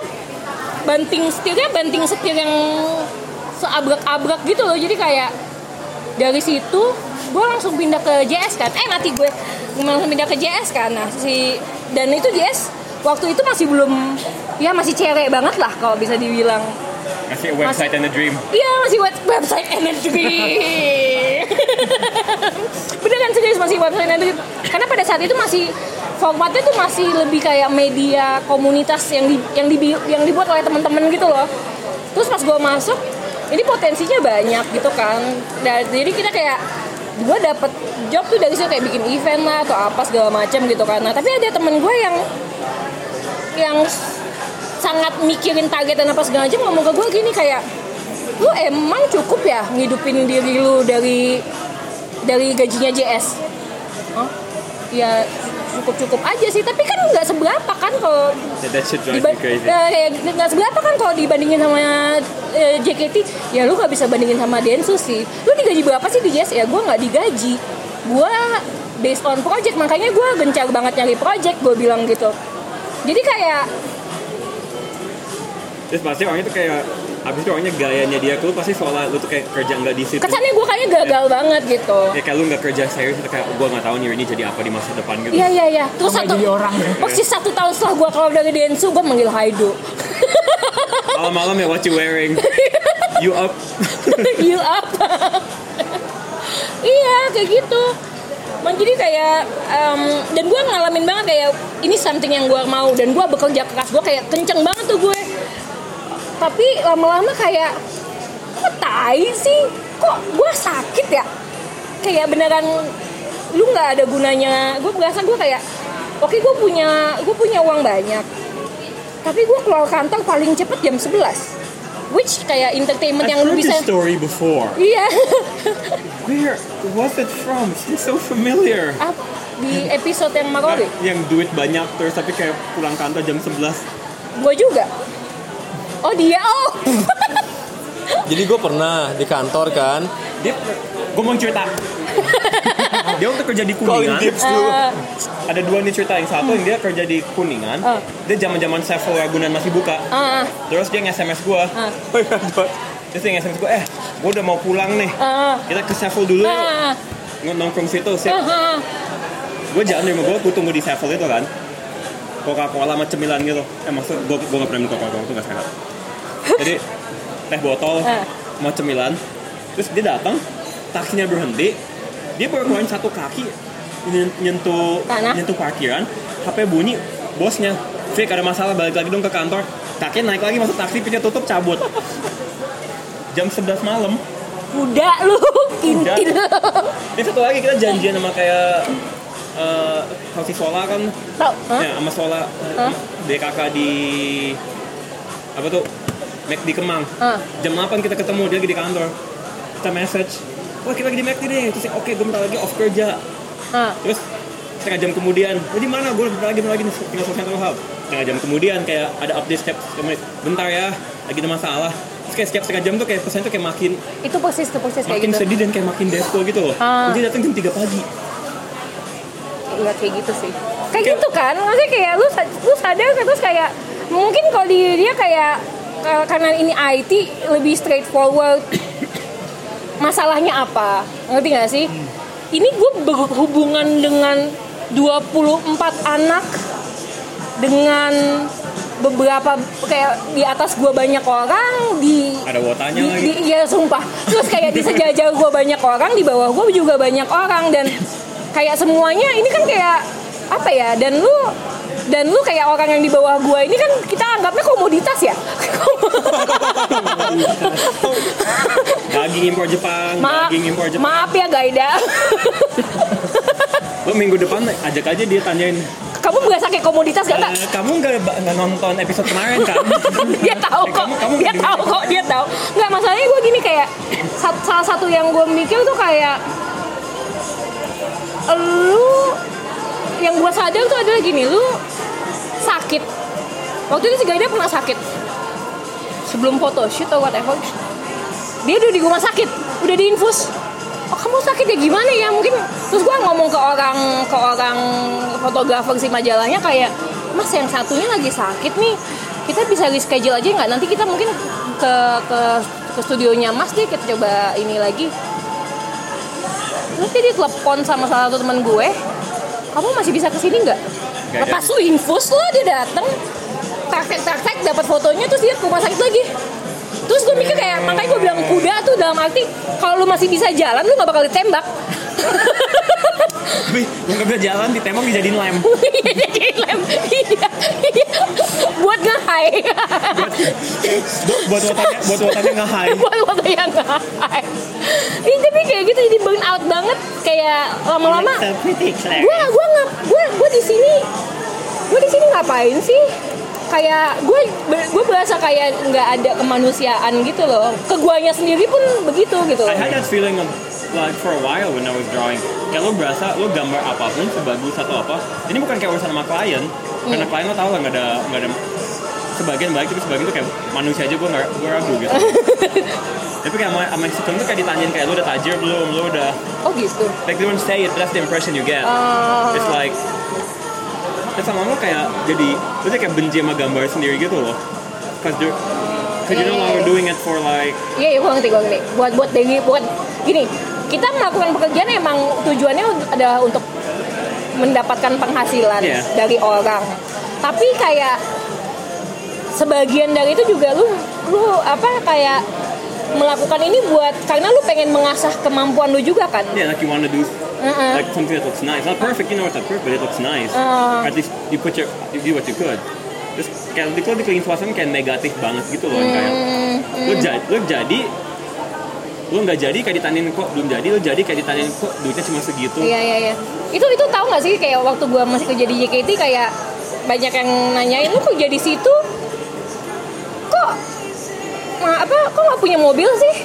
S1: banting setirnya banting setir yang seabrek-abrek gitu loh jadi kayak dari situ gue langsung pindah ke JS kan eh mati gue Gua langsung pindah ke JS kan nah si dan itu JS waktu itu masih belum ya masih cerek banget lah kalau bisa dibilang
S3: Masih a website and a dream.
S1: Iya masih web website energy. Bener kan serius masih website energy. Karena pada saat itu masih formatnya tuh masih lebih kayak media komunitas yang di, yang di, yang dibuat oleh teman-teman gitu loh. Terus pas gue masuk, ini potensinya banyak gitu kan. Dan jadi kita kayak gue dapet job tuh dari situ kayak bikin event lah atau apa segala macam gitu kan. Nah, tapi ada temen gue yang yang sangat mikirin target dan apa segala macam ngomong ke gue gini kayak lu emang cukup ya ngidupin diri lu dari dari gajinya JS Hah? ya cukup-cukup aja sih tapi kan nggak seberapa kan kalau
S3: That, that shit drives me
S1: diba-
S3: crazy.
S1: Nah, kayak nggak seberapa kan kalau dibandingin sama eh, JKT ya lu nggak bisa bandingin sama Densus sih lu digaji berapa sih di JS ya gue nggak digaji gue based on project makanya gue gencar banget nyari project gue bilang gitu jadi kayak
S3: Terus pasti orangnya tuh kayak abis itu orangnya gayanya dia lu pasti seolah lu tuh kayak kerja nggak di situ.
S1: kesannya gue kayaknya gagal banget gitu
S3: ya kayak lu nggak kerja serius itu kayak gue nggak tahu nih ini jadi apa di masa depan gitu
S1: Iya iya iya. Terus
S2: Sampai
S1: satu
S2: jadi orang ya.
S1: Persis satu tahun setelah gue keluar dari Densu, gue manggil Haido.
S3: malam-malam ya what you wearing you up
S1: you up. iya kayak gitu. Man, jadi kayak em, dan gue ngalamin banget kayak ini something yang gue mau dan gue bekerja keras gue kayak kenceng banget tuh gue. Tapi lama-lama kayak kok tai sih? Kok gue sakit ya? Kayak beneran lu nggak ada gunanya. Gue merasa gue kayak oke gue punya gue punya uang banyak. Tapi gue keluar kantor paling cepet jam 11 Which kayak entertainment yang lu
S3: heard
S1: bisa
S3: this story before
S1: Iya.
S3: where was it from It seems so familiar
S1: Ah, di episode yang Marori,
S3: Nah, yang duit banyak terus tapi kayak pulang kantor jam 11
S1: gue juga. Oh dia, oh.
S4: jadi gue pernah di kantor kan
S3: dia gue mau cerita dia waktu kerja di
S4: calling
S3: kuningan
S4: tips dulu
S1: Eh,
S3: ada dua nih cerita yang satu yang dia kerja di kuningan
S1: Ah.
S3: dia zaman zaman Sevel Ragunan masih buka
S1: ah,
S3: terus dia nge sms gue
S4: Oh iya, dua.
S3: terus yang SMS gue eh gue udah mau pulang nih
S1: Ah,
S3: kita ke Sevel dulu yuk
S1: ah,
S3: Nong- nongkrong situ sih
S1: ah, ah.
S3: gue jalan dari rumah gue gue tunggu di Sevel itu kan Coca-Cola sama cemilan gitu eh maksud gue gue gak pernah minum Coca-Cola itu gak sehat jadi teh botol
S1: Ah.
S3: mau cemilan terus dia datang taksinya berhenti dia baru keluarin satu kaki nyen- nyentuh
S1: Tanah.
S3: nyentuh parkiran HP bunyi bosnya Fik ada masalah balik lagi dong ke kantor kakinya naik lagi masuk taksi pintu tutup cabut jam 11 malam
S1: Kuda lu, kintil.
S3: Ini satu lagi kita janjian sama kayak eh Kausi Sola kan,
S1: Tau, hah?
S3: ya sama Sola
S1: Hah?
S3: DKK di apa tuh Mac di Kemang.
S1: Ah.
S3: Jam 8 kita ketemu dia lagi di kantor. Kita message, wah kita lagi di Mac nih, terus oke gue bentar lagi off kerja.
S1: Ah.
S3: Terus setengah jam kemudian, oh di mana gue bentar lagi bentar lagi tinggal selesai Central Hub. Setengah jam kemudian kayak ada update step, menit, bentar ya, lagi ada masalah. Terus kayak setiap setengah jam tuh kayak pesan tuh kayak makin
S1: Itu persis tuh persis kayak
S3: makin
S1: gitu.
S3: sedih dan kayak makin desko gitu loh.
S1: Ah.
S3: Dia datang jam 3 pagi.
S1: Iya kayak gitu sih. Kayak gitu kan, maksudnya kayak lu sa- lu sadar kan terus kayak mungkin kalau di dia kayak ka- karena ini IT lebih straightforward masalahnya apa ngerti gak sih ini gue berhubungan dengan 24 anak dengan beberapa kayak di atas gue banyak orang di
S3: ada wotanya
S1: di,
S3: lagi
S1: di- iya sumpah terus kayak di sejajar gue banyak orang di bawah gue juga banyak orang dan kayak semuanya ini kan kayak apa ya dan lu dan lu kayak orang yang di bawah gue ini kan kita anggapnya komoditas ya
S3: daging impor Jepang
S1: maaf
S3: daging impor Jepang
S1: maaf ya Gaida
S3: lo minggu depan ajak aja dia tanyain
S1: kamu berasa kayak komoditas gak
S3: "Eh, kamu nggak ba- nggak nonton episode kemarin kan
S1: dia tahu
S3: Eh,
S1: kok
S3: kamu- kamu
S1: dia
S3: gini.
S1: tahu kok dia tahu nggak masalahnya gue gini kayak sat- salah satu yang gue mikir tuh kayak lu yang gue sadar tuh adalah gini lu sakit waktu itu si Gaida pernah sakit sebelum foto shoot atau whatever dia udah di rumah sakit udah diinfus oh kamu sakit ya gimana ya mungkin terus gue ngomong ke orang ke orang fotografer si majalahnya kayak mas yang satunya lagi sakit nih kita bisa reschedule aja nggak nanti kita mungkin ke ke ke studionya mas deh kita coba ini lagi terus dia ditelepon sama salah satu teman gue kamu masih bisa kesini nggak
S3: Nggak
S1: lepas lu infus lo dia dateng traktek traktek dapat fotonya terus dia ke rumah sakit lagi terus gue mikir kayak makanya gue bilang kuda tuh dalam arti kalau lu masih bisa jalan lu nggak bakal ditembak
S3: Wih, yang nggak bisa jalan di temang dijadiin lem
S1: jadi lem iya, iya. buat ngehai
S3: buat wotanya buat wotanya nggak high
S1: buat waktu yang ngehai Ih, tapi kayak gitu jadi burn out banget kayak lama-lama
S3: So pretty, Claire.
S1: gue gue nggak gue gue di sini gue di sini ngapain sih kayak gue gue berasa kayak nggak ada kemanusiaan gitu loh ke guanya sendiri pun begitu gitu
S3: I had that feeling of like for a while when I was drawing. Kayak lo berasa lo gambar apapun sebagus atau apa. Ini bukan kayak urusan sama klien. Karena klien lo tau lah nggak ada nggak ada sebagian baik tapi sebagian tuh kayak manusia aja gue nggak gue ragu gitu. tapi kayak sama, sama si tuh kayak ditanyain kayak lo udah tajir belum, lo udah
S1: oh gitu
S3: like they don't say it, that's the impression you get.
S1: Ah.
S3: It's like terus sama lo kayak jadi lo tuh kayak benci sama gambar sendiri gitu loh. Cause, you're- cause you know
S1: Yeah.
S3: we're doing it for like
S1: Iya, iya, gue ngerti, gue ngerti. Buat buat Dewi, buat gini, kita melakukan pekerjaan emang tujuannya un- adalah untuk mendapatkan penghasilan
S3: Iya.
S1: dari orang. Tapi kayak sebagian dari itu juga lu lu apa kayak melakukan ini buat karena lu pengen mengasah kemampuan lu juga kan.
S3: yeah like you want to do
S1: Heeh.
S3: like something that looks nice. Not perfect, you know it's not perfect, but it looks nice.
S1: Ah.
S3: At least you put your you do what you could. Terus kayak di kalau di clean suasana kayak negatif banget gitu loh kayak
S1: Hmm.
S3: lo jadi lo jadi lo nggak jadi kayak ditanyain kok belum jadi lo jadi kayak ditanyain kok duitnya cuma segitu
S1: Iya iya iya. Itu itu tahu nggak sih kayak waktu gua masih kerja di JKT kayak banyak yang nanyain lu kok jadi situ kok ma- apa kok nggak punya mobil sih?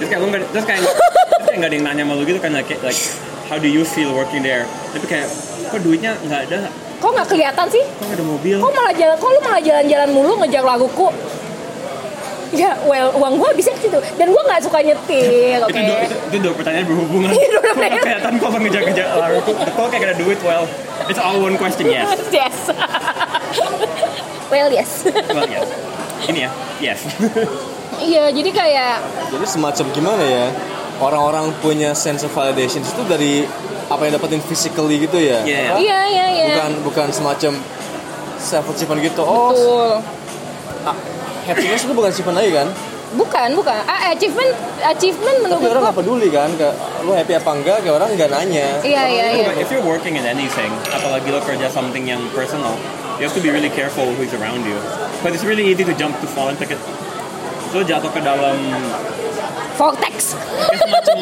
S3: terus kayak lo nggak terus kayak terus kayak nggak ada yang nanya sama lo gitu kan like, like how do you feel working there tapi kayak kok duitnya nggak ada
S1: Kok nggak kelihatan sih?
S3: kok nggak ada mobil
S1: Kok malah jalan kok lu malah jalan-jalan mulu ngejar laguku? Ya, well, uang gua habisnya ke situ dan gua nggak suka nyetir, oke.
S3: itu dua itu, itu dua pertanyaan berhubungan
S1: Iya, dua
S3: kok nggak
S1: pertanyaan.
S3: kelihatan kok ngejar ngejar lalu kok kayak ada duit well it's all one question yes
S1: yes. well, yes.
S3: Well, yes. Ini ya, yes.
S1: iya jadi kayak
S4: Jadi semacam gimana ya? Orang-orang punya sense of validation itu dari apa yang dapetin physically gitu
S3: Iya,
S4: ya.
S3: iya.
S4: Apa?
S1: iya iya iya
S4: Bukan bukan semacam self achievement gitu. Oh,
S1: betul
S4: happiness itu bukan achievement lagi kan?
S1: bukan bukan ah achievement achievement
S4: Tapi
S1: menurut
S4: orang
S1: gua
S4: nggak peduli kan, kayak, lu happy apa enggak, kayak orang nggak nanya.
S1: iya iya iya
S3: But if you're working in anything, apalagi lo kerja something yang personal, you have to be really careful who's around you. Because it's really easy to jump to fall into it. Lo jatuh ke dalam
S1: vortex
S3: kayak semacam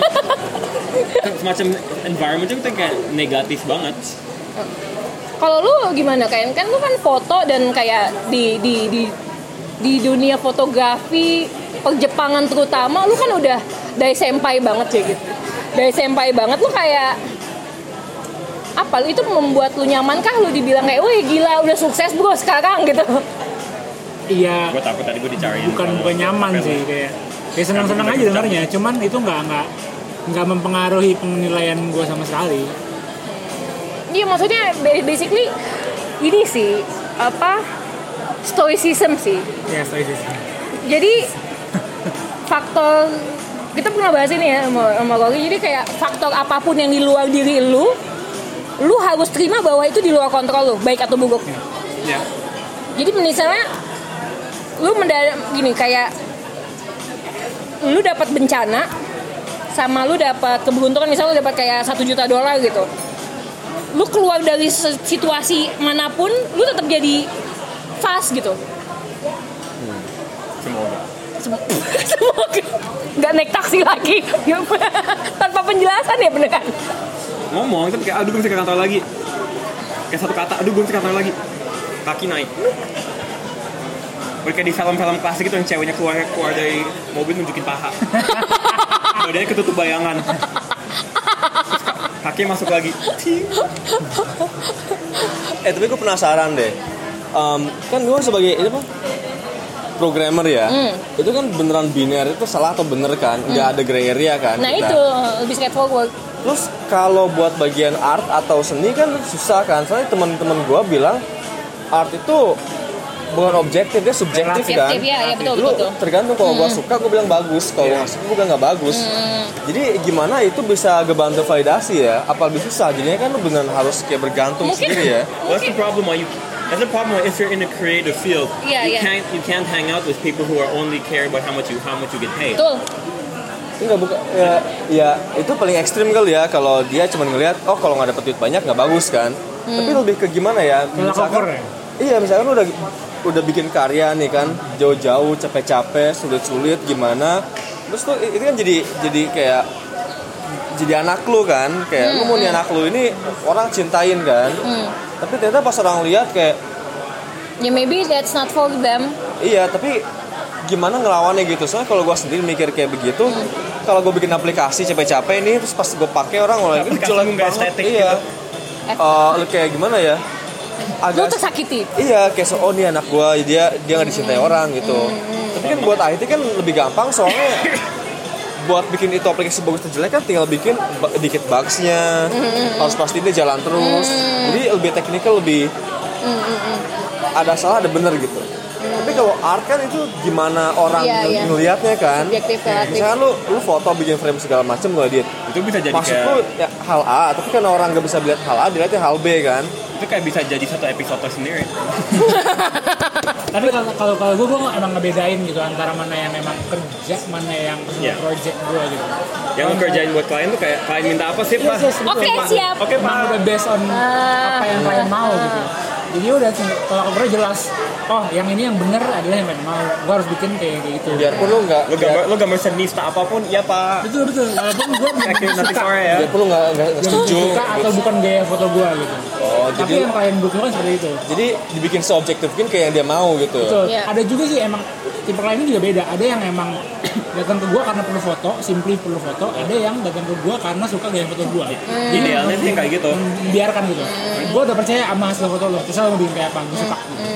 S3: semacam environment itu kayak negatif banget.
S1: Kalau lu gimana kan? Kan lu kan foto dan kayak di di di di dunia fotografi perjepangan terutama lu kan udah dari senpai banget ya gitu. Dari senpai banget lu kayak apa lu itu membuat lu nyaman kah lu dibilang kayak wih gila udah sukses bro sekarang gitu
S2: iya
S3: Gue takut tadi gue dicariin.
S2: bukan
S3: kalau-
S2: bukan nyaman
S3: kalau-
S2: sih kayak ya senang senang aja dengarnya cuman itu nggak nggak nggak mempengaruhi penilaian gue sama sekali
S1: iya maksudnya ba- basically ini sih apa stoicism sih
S2: ya
S3: Iya,
S2: so itu sih
S1: jadi faktor kita pernah bahas ini ya sama, sama Rory. jadi kayak faktor apapun yang di luar diri lu lu harus terima bahwa itu di luar kontrol lu baik atau buruk
S2: ya
S1: jadi misalnya lu mendadak gini kayak lu dapat bencana sama lu dapat keberuntungan misalnya lu dapat kayak satu juta dolar gitu lu keluar dari se- situasi manapun lu tetap jadi fast gitu
S3: Semoga.
S1: Sem- Semoga nggak naik taksi lagi tanpa penjelasan ya beneran.
S3: Ngomong tapi kayak aduh gue mesti ke kantor lagi. Kayak satu kata, aduh gue mesti ke kantor lagi. Kaki naik. Mereka di film-film klasik itu yang ceweknya keluar keluar dari mobil nunjukin paha. Badannya ketutup bayangan. Terus ka- Kaki masuk lagi.
S4: Eh tapi gue penasaran deh. Em, kan gue sebagai itu apa? Programmer ya.
S1: Hmm.
S4: Itu kan beneran biner itu salah atau bener kan? Nggak ada gray area kan?
S1: Nah
S4: kita.
S1: itu lebih straightforward.
S4: Terus kalau buat bagian art atau seni kan susah kan? Soalnya teman-teman gue bilang art itu bukan objektif dia
S1: Relatif,
S4: subjektif kan?
S1: iya, iya, betul, betul, Hmm.
S4: Lu
S1: Iya. betul.
S4: tergantung kalau gue suka gue bilang bagus, kalau gue suka gue bilang nggak bagus.
S1: Hmm.
S4: Jadi gimana itu bisa ngebantu validasi ya? Apa lebih susah? Jadinya kan lu beneran harus kayak bergantung
S1: Mungkin
S4: sendiri ya?
S3: That's
S1: mungkin
S3: the problem why you That's the problem if you're in a creative field.
S1: Yeah,
S3: you
S1: yeah.
S3: can't you can't hang out with people who are only care about how much you how much you get paid.
S1: betul.
S4: Enggak buka ya, ya itu paling ekstrim kali ya kalau dia cuma ngelihat oh kalau nggak dapet duit banyak nggak bagus kan. Tapi
S1: Hmm.
S4: lebih ke gimana ya?
S2: Tolak ukur ya?
S4: Iya, misalkan lu udah udah bikin karya nih kan, jauh-jauh capek-capek, sulit-sulit gimana. Terus tuh itu kan jadi jadi kayak jadi anak lu kan, kayak lu mau nih anak lu ini orang cintain kan.
S3: Mm.
S4: Tapi ternyata pas orang lihat kayak
S1: Ya maybe that's not for them.
S4: Iya, tapi gimana ngelawannya gitu? Soalnya kalau gue sendiri mikir kayak begitu,
S3: Mm.
S4: kalau gue bikin aplikasi capek-capek ini, terus pas gue pakai orang mulai "Ini
S3: Aplikasi
S4: jelek
S3: nggak
S4: banget."
S3: estetik gitu.
S4: Iya.
S1: Eh.
S4: Eh, lu kayak gimana ya?
S1: Lu
S4: Agak
S1: tersakiti.
S4: Iya, kayak so, oh nih anak gue, dia dia nggak dicintai orang gitu. Tapi kan buat IT kan lebih gampang soalnya buat bikin itu aplikasi bagus atau jelek kan tinggal bikin ba- dikit bugsnya harus pastiin dia jalan terus
S1: Hmm.
S4: jadi lebih teknikal lebih ada salah ada bener gitu tapi kalau art kan itu gimana orang
S1: Iya, iya.
S4: ngelihatnya kan
S1: Subjektif, relatif.
S4: misalnya lu lu foto bikin frame segala macam lu edit
S3: Itu bisa jadi
S4: maksud
S3: kayak
S4: lu ya, hal A tapi kan orang nggak bisa lihat hal A dilihatnya hal B kan
S3: itu kayak bisa jadi satu episode sendiri.
S2: tapi kalau kalau kalau gue gue emang ngebedain gitu antara mana yang emang kerja mana yang
S3: Iya.
S2: project gue gitu
S3: Yang lu kerjain buat klien tuh kayak klien minta apa sih
S2: Iya,
S3: pak?
S2: yes, betul,
S1: Oke,
S2: Pak.
S1: siap.
S3: Oke
S2: emang
S3: pak.
S2: udah based on
S1: Ah.
S2: apa yang kalian mau gitu jadi udah kalau ukurnya jelas oh yang ini yang bener adalah yang kalian mau gue harus bikin kayak kayak gitu
S4: biarpun lu nggak
S3: Lo
S4: biar-
S3: Iya. gambar lo gambar seni seta apapun, iya pak.
S2: betul betul walaupun gue
S3: Oke nanti sore ya.
S2: Hmm.
S4: biarpun lu nggak nggak nggak
S2: yang
S4: setuju
S2: suka atau bukan gaya foto gue gitu
S4: oh
S2: tapi
S4: jadi
S2: yang kalian butuhkan seperti itu
S4: jadi dibikin seobjektif mungkin kayak yang dia mau gitu
S2: Betul.
S1: Iya.
S2: Ada juga sih emang tipe kliennya juga beda. Ada yang emang datang ke gua karena perlu foto, simply perlu foto. Ada yang datang ke gua karena suka gaya foto gua.
S3: Hmm.
S2: Jadi
S3: Idealnya sih kayak gitu.
S2: biarkan gitu. Gua udah percaya sama hasil foto lo. Terus lo mau bikin kayak apa? Gua suka. Gitu.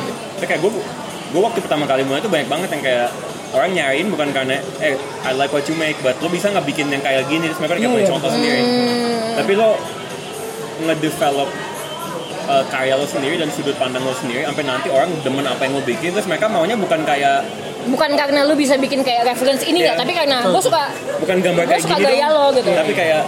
S3: gitu. Tapi kayak gue gue waktu pertama kali mulai tuh banyak banget yang kayak orang nyariin bukan karena eh I like what you make but lo bisa nggak bikin yang kayak gini terus mereka kayak
S2: Iya,
S3: punya
S2: iya.
S3: contoh sendiri tapi lo ngedevelop uh, karya lo sendiri dan sudut pandang lo sendiri sampai nanti orang demen apa yang lo bikin terus mereka maunya bukan kayak
S1: bukan karena lu bisa bikin kayak reference ini
S3: Iya.
S1: nggak tapi karena gue suka
S3: bukan gambar
S1: Gua
S3: kayak
S1: suka
S3: gini
S1: gaya
S3: dong,
S1: lo gitu.
S3: tapi kayak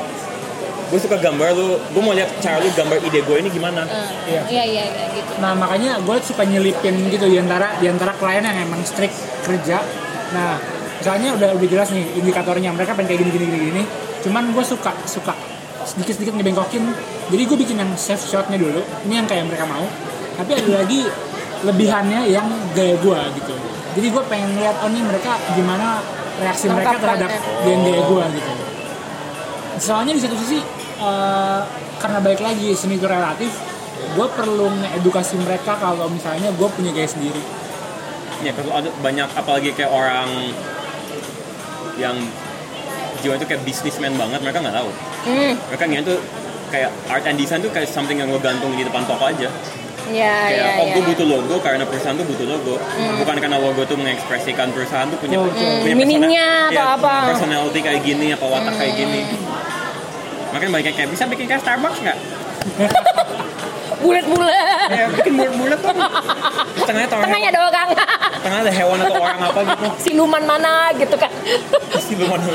S3: gue suka gambar lu gue mau lihat cara lu gambar ide gue ini gimana
S2: Iya.
S1: eh, iya iya iya gitu
S2: Nah makanya gue suka nyelipin gitu diantara diantara klien yang emang strict kerja. Nah misalnya udah udah jelas nih indikatornya mereka pengen kayak gini gini gini, gini. Cuman gue suka suka sedikit sedikit ngebengkokin. Jadi gue bikin yang safe shotnya dulu. Ini yang kayak mereka mau. Tapi ada lagi lebihannya yang gaya gue gitu. Jadi gue pengen lihat oh nih mereka gimana reaksi mereka
S1: Tangkapannya.
S2: terhadap yang gaya gue gitu. Soalnya di satu sisi eh, karena balik lagi seni itu relatif, gue perlu edukasi mereka kalau misalnya gue punya gaya sendiri.
S3: ya kalau ada banyak apalagi kayak orang yang jiwa itu kayak businessman banget mereka nggak tahu
S1: hmm
S3: mereka ngira tuh kayak art and design tuh kayak something yang gue gantung di depan toko aja
S1: ya
S3: kayak
S1: ya
S3: oh
S1: ya
S3: gue butuh logo karena perusahaan tuh butuh logo
S1: Hmm.
S3: bukan karena logo tuh mengekspresikan perusahaan tuh punya,
S2: Betul, betul.
S3: punya
S1: Meaningnya
S3: persona-
S1: Oh, atau
S3: iya,
S1: apa. Hmm.
S3: personality kayak gini apa watak kayak gini makanya banyak yang kayak bisa bikin kayak Starbucks nggak
S1: bulat bulat
S3: ya bikin bulat-bulat tuh tengahnya taruh
S1: tengahnya ada orang
S3: tengah ada hewan atau orang apa gitu
S1: siluman mana gitu kan
S3: pasti belum ada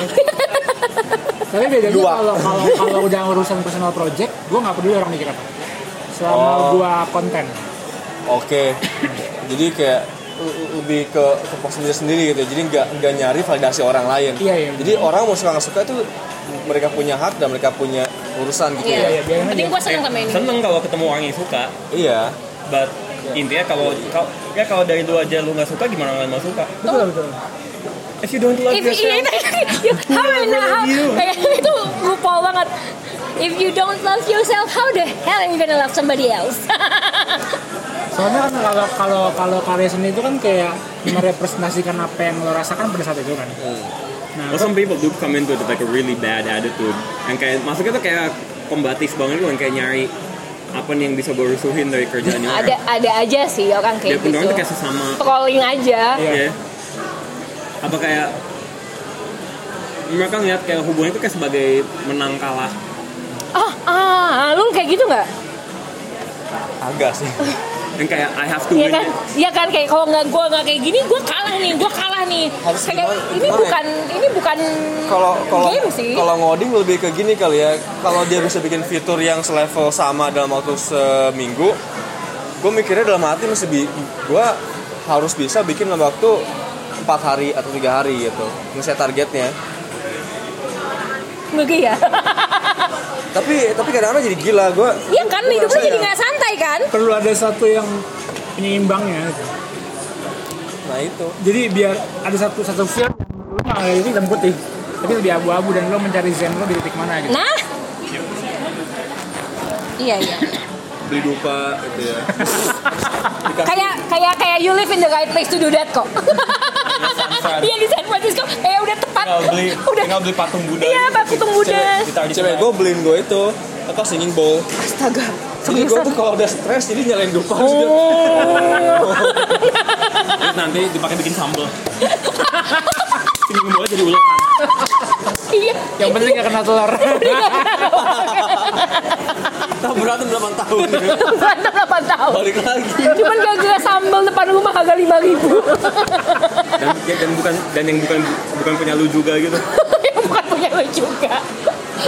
S2: Tapi bedanya
S4: Dua.
S2: kalau kalau kalau udah urusan personal project, gue nggak peduli orang mikir apa. Selama
S4: Oh.
S2: gue konten.
S4: Oke. Jadi kayak le- lebih ke ke box sendiri sendiri gitu. Jadi nggak nggak nyari validasi orang lain.
S2: Iya, iya.
S4: Jadi orang mau suka nggak suka itu mereka punya hak dan mereka punya urusan gitu
S1: Iya.
S4: ya.
S2: biarin aja.
S1: penting gue seneng sama ini
S3: seneng kalau ketemu orang yang suka
S4: Iya.
S3: but intinya kalau kalau ya kalau dari lu aja lu nggak suka gimana orang lain mau suka
S2: Betul betul.
S3: if you don't love
S1: If iya,
S3: yourself
S1: iya, how and how kayak itu RuPaul banget. If you don't love yourself, how the hell are you gonna love somebody else?
S2: Soalnya kan kalau kalau kalau karya seni itu kan kayak merepresentasikan apa yang lo rasakan pada saat itu kan.
S3: Well, Nah, some people do come into it with like a really bad attitude. Yang kayak masuknya tuh kayak kombatif banget loh, yang kayak nyari apa nih yang bisa gue rusuhin dari kerjaannya orang.
S1: ada ada aja sih orang
S3: Dia
S1: kayak
S3: pun orang
S1: gitu.
S3: tuh kayak sesama.
S1: Trolling aja.
S2: Iya.
S3: ya. Apa kayak mereka ngeliat kayak hubungan itu kayak sebagai menang kalah.
S1: Oh, ah, lu kayak gitu nggak?
S4: Agak sih.
S3: Yang kayak I have to
S1: Iya
S3: win.
S1: kan?
S3: it.
S1: Iya kan kayak kalau nggak gua nggak kayak gini, gua kalah nih, gua kalah nih.
S4: Harus
S1: Kayak
S4: gimana-
S1: ini
S4: gimana ya?
S1: bukan ini bukan
S4: Kalau kalau
S1: game sih.
S4: kalau ngoding lebih ke gini kali ya. Kalau dia bisa bikin fitur yang selevel sama dalam waktu seminggu, gue mikirnya dalam hati mesti bi- gue harus bisa bikin dalam waktu empat hari atau tiga hari gitu. Ngeset targetnya.
S1: Ngeri ya.
S4: tapi tapi kadang-kadang jadi gila gue
S1: Iya kan hidup lu
S4: ya,
S1: jadi nggak santai kan?
S2: Perlu ada satu yang penyeimbangnya.
S4: nah itu
S2: Jadi biar ada satu satu film lu nggak ada itu hitam putih. Tapi lebih abu-abu dan lo mencari zen lo di titik mana gitu.
S1: Nah. Iya iya.
S4: beli dupa gitu ya
S1: kayak kayak kayak you live in the right place to do that kok. Iya di San Francisco kayak udah tepat.
S3: Tinggal beli,
S1: udah.
S3: tinggal beli patung Buddha.
S1: Iya, Pak Tung Buddha.
S3: Ditaruh di
S4: cewek
S3: tengah.
S4: gue beliin gue itu apa singing bowl
S1: Astaga. Oh.
S4: jadi gue tuh kalau udah stres jadi nyalain dupa juga
S3: Terus nanti dipakai bikin sambal. Singgung bola jadi ulekan.
S1: Iya.
S2: Yang penting nggak kena telur.
S4: tak berantem 8 tahun
S1: Berantem 8 tahun.
S4: balik lagi
S1: Cuman gara-gara sambal depan rumah harga 5 ribu.
S3: Dan, ya, dan bukan dan yang bukan bukan punya lu juga gitu.
S1: Yang bukan punya lo juga.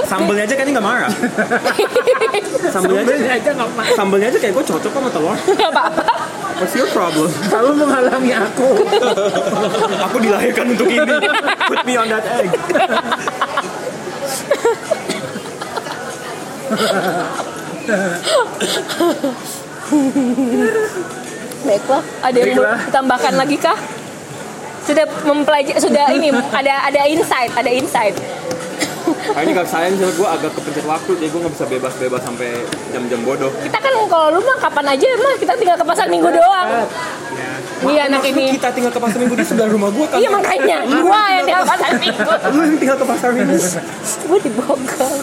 S3: Sambelnya aja kan nggak marah. Sambelnya aja
S2: Sebenarnya aja nggak pernah.
S3: sambelnya aja kayak gue cocok sama telur
S1: Gak apa-apa.
S3: what's your problem
S2: Kamu menghalangi aku.
S3: aku dilahirkan untuk ini put me on that egg
S1: Baiklah. Ada yang mau
S2: Baiklah.
S1: ditambahkan lagi kah? Sudah mempelajari, sudah ini, ada ada insight, ada insight.
S3: hari Nah, ini gak sayang sih gue agak kepencet waktu jadi gue gak bisa bebas-bebas sampai jam-jam bodoh
S1: Kita kan kalau lu mah kapan aja mah kita tinggal ke pasar minggu doang. Iya anak ini.
S3: kita tinggal ke pasar minggu di sebelah rumah gue kan
S1: Iya makanya, gua yang di pasar minggu,
S3: lu yang tinggal ke pasar minggu
S1: gua di Bogor.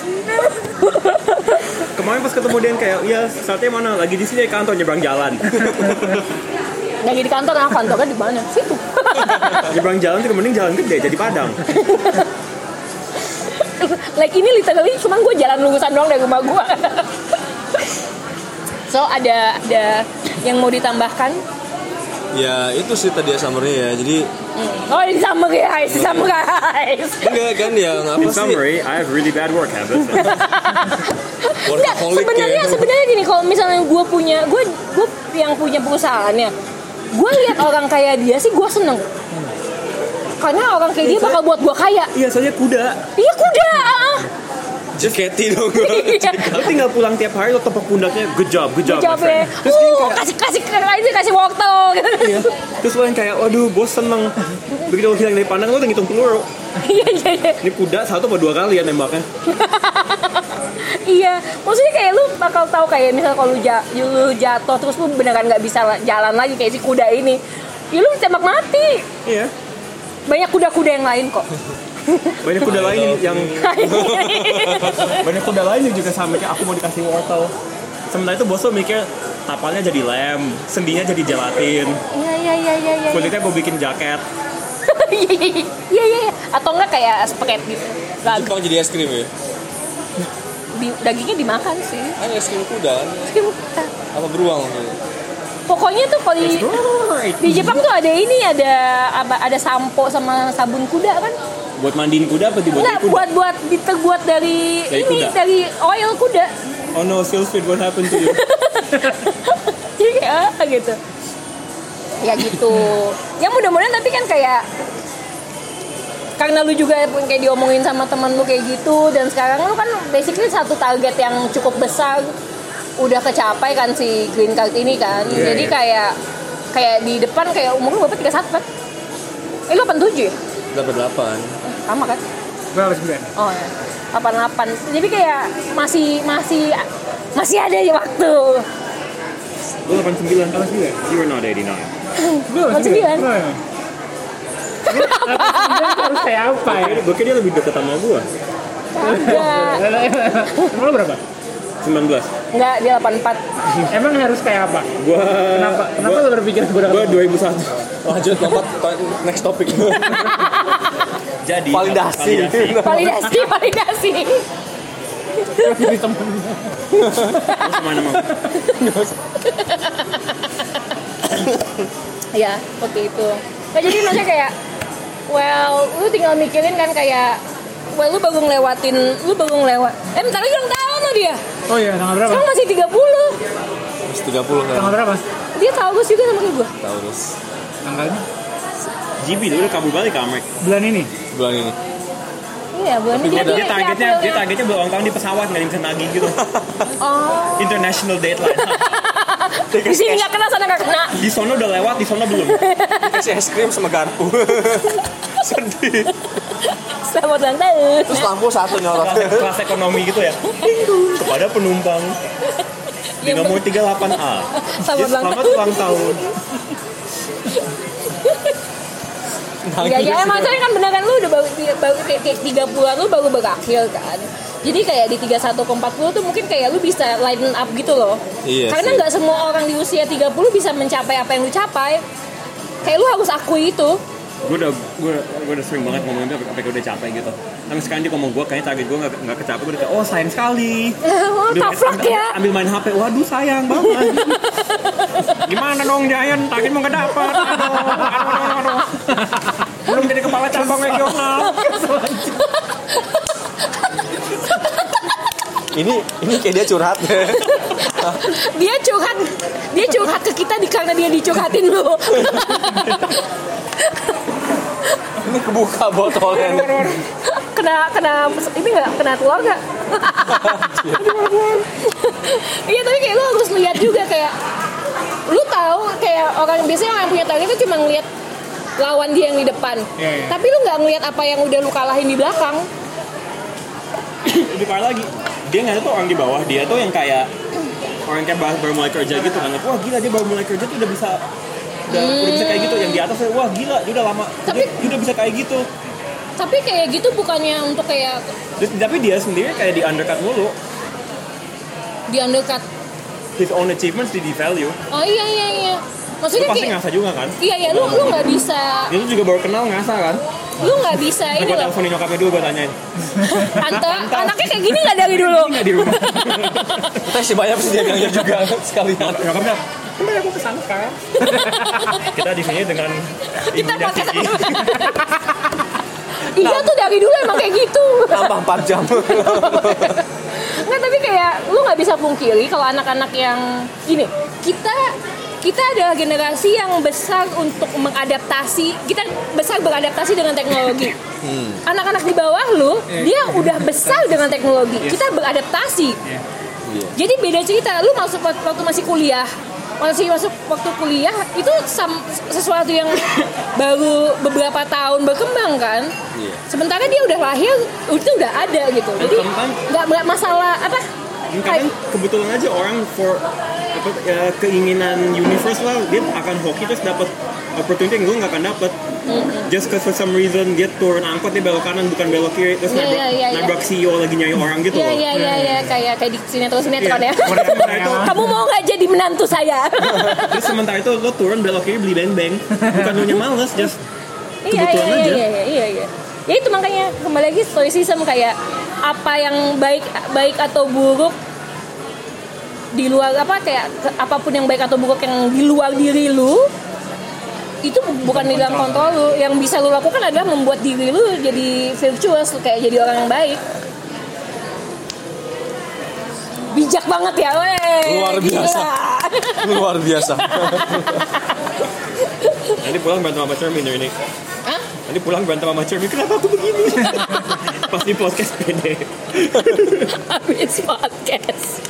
S3: kemarin pas ketemu dia kayak ya saatnya mana lagi di sini di kantor nyebrang jalan
S1: Lagi di kantor, ah kantornya di mana? Situ.
S3: nyebrang jalan tuh mending jalan gede jadi padang
S1: like ini literally cuman gua jalan lurusan doang dari rumah gua. so ada ada yang mau ditambahkan?
S4: ya itu sih tadi ya summary ya jadi
S1: Oh, ini sama guys, sama guys.
S4: enggak kan yang apa
S3: In
S4: sih
S3: summary, I have really bad work habits.
S1: Enggak,
S4: workaholic
S1: sebenarnya
S4: ya
S3: gitu.
S1: sebenarnya gini kalau misalnya gue punya gue gue yang punya perusahaannya, gue lihat orang kaya dia sih gue seneng. Karena orang kayak dia bakal buat gue kaya.
S3: Iya, soalnya kuda.
S1: Iya kuda. ah.
S4: Jeketi dong gua.
S1: Iya.
S3: Lo tinggal pulang tiap hari, lo tepuk pundaknya, good job, good job, my
S1: Jawabnya,
S3: friend. Terus dia
S1: uh,
S3: kayak,
S1: kasih kasih aja kasih wortel.
S3: Iya. Terus lo yang kayak, waduh, bos seneng. Begitu lo hilang dari pandang, lo udah ngitung peluru.
S1: Iya iya iya.
S3: Ini kuda satu atau dua kali ya nembaknya.
S1: Iya, maksudnya kayak lu bakal tahu kayak misalnya kalau lu, ja- lu jatuh terus lu beneran nggak bisa la- jalan lagi kayak si kuda ini, ya lu tembak mati.
S3: Iya.
S1: Banyak kuda-kuda yang lain kok. Iya,
S3: Banyak kuda lain yang banyak kuda lain yang juga sama kayak aku mau dikasih wortel. Sementara itu bos lo mikir tapalnya jadi lem, sendinya jadi gelatin,
S1: Iya iya iya iya iya.
S3: kulitnya gue bikin jaket.
S1: Iya iya iya. iya iya. Atau enggak kayak spaget gitu. Lag-
S4: Jepang jadi es krim ya
S1: di- dagingnya dimakan sih.
S4: kan es krim kuda kan? apa beruang maksudnya?
S1: Pokoknya tuh kalau di,
S3: Right.
S1: di Jepang tuh ada ini ada apa ada sampo sama sabun kuda kan?
S3: Buat mandiin kuda apa dibuat
S1: Enggak
S3: kuda?
S1: buat buat diteguat dari,
S3: Dari
S1: ini
S3: kuda.
S1: dari oil kuda.
S3: Oh no, still fit, what happened to you?
S1: Jadi kayak ah, gitu. Ya gitu. ya mudah-mudahan tapi kan kayak karena lu juga kayak diomongin sama temen lu kayak gitu dan sekarang lu kan basically satu target yang cukup besar udah kecapai kan si green card ini kan.
S3: Iya,
S1: Jadi
S3: iya.
S1: kayak kayak di depan kayak umur lu berapa 31 kan? Eh lu 87 ya?
S4: dapat delapan
S1: Sama kan?
S2: Gue harus bilang.
S1: Oh ya. 88. Jadi kayak masih masih masih ada waktu.
S3: Gue 89,
S2: Harus bilang.
S3: you were not 89.
S2: Gue harus bilang. Gua harus bilang. Gua harus kayak apa ya?
S3: Gue kira dia lebih deket sama gue.
S1: Enggak.
S2: Emang lo berapa?
S3: 19.
S1: Enggak, dia 84.
S2: Emang harus kayak apa?
S3: Gue...
S2: Kenapa? Kenapa lo berpikir gue
S3: Gue 2001.
S4: lanjut lompat to- next topik
S3: Jadi...
S4: Validasi.
S1: Validasi, validasi.
S2: dari temen?
S3: Terus kemana mau?
S1: ya, seperti itu. Nah, jadi maksudnya kayak well, lu tinggal mikirin kan kayak well, lu baru ngelewatin, lu baru ngelewat. Eh, bentar lagi ulang tahun lo dia.
S2: Oh iya, tanggal berapa?
S1: Sekarang masih 30.
S4: terus tiga puluh
S2: Tanggal
S4: kan
S2: berapa?
S1: Dia tahu gue juga sama kayak gue.
S4: Taurus
S2: Tanggalnya?
S3: GB, lu udah kabur balik ke Amerika.
S2: Bulan ini?
S4: bulan ini
S1: Iya, bulan ini
S3: Dia,
S1: dia,
S3: dia targetnya,
S1: April
S3: dia
S1: ya.
S3: targetnya buat ulang tahun di pesawat, nggak bisa nagih gitu.
S1: Oh.
S3: International deadline.
S1: Di sini nggak kena, sana nggak kena.
S3: Di sono udah lewat, di sono belum.
S4: kasih es krim sama garpu sedih
S1: Selamat ulang tahun.
S4: terus lampu satu
S3: Kelas,
S4: nyorot
S3: kelas ekonomi gitu ya. Kepada penumpang di
S1: Yang
S3: nomor 38A.
S1: Selamat
S3: Yes,
S1: ulang
S3: selamat
S1: tahun.
S3: ulang tahun.
S1: Iya, ya, maksudnya kan bener kan lu udah baru, baru kayak, kayak 30-an lu baru berakhir kan. Jadi kayak di 31 ke 40 tuh mungkin kayak lu bisa line up gitu loh.
S4: Iya
S1: Karena
S4: sih.
S1: nggak semua orang di usia 30 bisa mencapai apa yang lu capai. Kayak lu harus akui itu.
S3: gue udah gue gue udah sering banget ngomongin itu sampai sampai udah capek gitu tapi sekarang dia ngomong gue kayaknya target gue nggak nggak kecapai gue udah kayak oh sayang sekali
S1: Oh,
S3: Udah,
S1: tough luck
S3: ambil-
S1: ya.
S3: ambil main HP waduh sayang banget gimana dong Jayan target mau nggak dapat aduh, aduh, aduh, aduh. belum jadi kepala cabang regional
S4: ini ini kayak dia curhat
S1: Dia curhat, dia curhat ke kita di karena dia dicurhatin lu.
S4: ini kebuka botolnya
S1: kena kena ini nggak kena telur nggak? Iya tapi kayak lu harus lihat juga kayak lu tahu kayak orang biasanya orang yang punya target itu cuma ngeliat lawan dia yang di depan.
S2: Iya, iya.
S1: Tapi lu nggak ngeliat apa yang udah lu kalahin di belakang.
S3: lebih parah lagi dia nggak tuh orang di bawah dia tuh yang kayak orang kayak baru, baru mulai kerja gitu kan wah gila dia baru mulai kerja tuh udah bisa udah, udah bisa kayak gitu yang di atas tuh, wah gila dia udah lama dia,
S1: Tapi-
S3: dia udah bisa kayak gitu
S1: Tapi kayak gitu bukannya untuk kayak
S3: Terus- tapi dia sendiri kayak di undercut mulu
S1: di undercut.
S3: his own achievements di devalue.
S1: Oh iya iya iya.
S3: Lu
S1: Maksudnya
S3: pasti
S1: kayak
S3: ngerasa juga kan?
S1: iya iya lu lu nggak bisa
S3: Dia tuh juga baru kenal ngerasa kan?
S1: lu nggak bisa
S3: Nah,
S1: ini
S3: gue
S1: loh.
S3: teleponin nyokapnya dulu gue tanyain.
S1: Anta anaknya kayak gini nggak dari dulu.
S3: Nggak di rumah.
S4: kita sih banyak sih dia gangnya gitu juga sekalian
S3: Nyokapnya,
S2: Bener aku kesana sekarang.
S5: Kita di sini dengan
S1: kita
S5: ibunya
S1: pakai
S5: Kiki.
S1: iya tuh dari dulu emang kayak gitu
S4: tambah 4 jam
S1: nggak tapi kayak lu nggak bisa pungkiri kalau anak-anak yang gini kita kita adalah generasi yang besar untuk mengadaptasi kita besar beradaptasi dengan teknologi anak-anak di bawah lu dia udah besar dengan teknologi kita beradaptasi
S4: Iya.
S1: jadi beda cerita lu masuk waktu masih kuliah masih masuk waktu kuliah itu sam- sesuatu yang baru beberapa tahun berkembang kan
S4: Iya.
S1: sementara dia udah lahir itu udah ada gitu jadi
S3: teman-teman-
S1: nggak nggak masalah apa
S3: kadang kebetulan aja orang for apa, ya, keinginan universal dia akan hoki terus dapat opportunity yang gue nggak akan dapat just cause for some reason dia turun angkot dia belok kanan bukan belok kiri terus
S1: Iya,
S3: nabrak,
S1: iya, iya, iya.
S3: nabrak CEO lagi nyari orang gitu
S1: Iya
S3: loh
S1: iya iya ya, kayak kayak di sinetron sinetron ya.
S3: Iya. Nah, itu,
S1: Kamu mau nggak jadi menantu saya?
S3: terus sementara itu lo turun belok kiri beli beng-beng bukan lo nya males just
S1: iya iya
S3: Kebetulan
S1: iya
S3: aja.
S1: iya iya iya iya. Ya itu makanya kembali lagi stoicism kayak apa yang baik baik atau buruk di luar apa kayak ke- apapun yang baik atau buruk yang di luar diri lu itu bu- bukan di dalam kontrol lu yang bisa lu lakukan adalah membuat diri lu jadi virtuous kayak jadi orang yang baik bijak banget ya weh
S4: Luar biasa.
S1: Gila.
S4: luar biasa
S3: nanti pulang berantem sama cermin ini
S1: Hah?
S3: nanti pulang berantem sama cermin kenapa aku begini pasti podcast pede
S1: Habis podcast.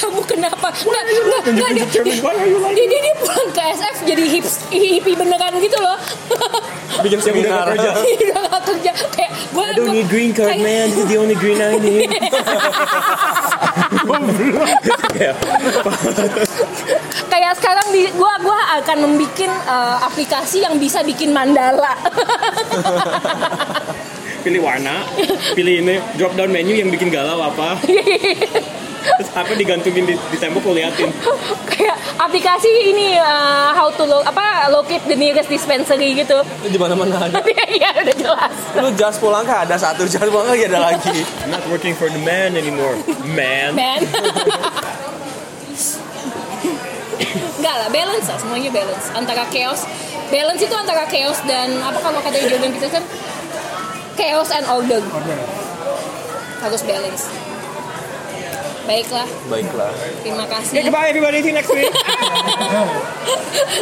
S1: Kamu kenapa? Nggak,
S3: iya,
S1: nggak, nggak. Dia,
S3: Cermin why are you like
S1: dia, dia, dia pulang ke SF jadi hips, hippie beneran gitu loh.
S3: Yang udah
S4: bikin seminar
S3: nggak kerja.
S1: Dia udah nggak kerja. Kayak gue...
S3: I don't need green card man this is the only green I need
S1: kayak sekarang di gua gua akan membuat aplikasi yang bisa bikin mandala.
S3: pilih warna pilih ini drop down menu yang bikin galau apa terus apa digantungin di, di tembok lo liatin
S1: kayak aplikasi ini eh, how to lo, apa locate the nearest dispensary gitu.
S4: itu di mana mana ada
S1: Iya udah jelas.
S4: lu jas pulang kah ada satu jas pulang lagi ada lagi
S3: I'm not working for the man anymore man
S1: man Enggak lah, balance lah, semuanya balance Antara chaos, balance itu antara chaos dan Apa kalau kata Jordan Peterson kan? Chaos and order
S2: Order.
S1: Harus balance Baiklah,
S4: baiklah
S1: terima
S3: Okay,
S1: kasih
S3: goodbye everybody see you next week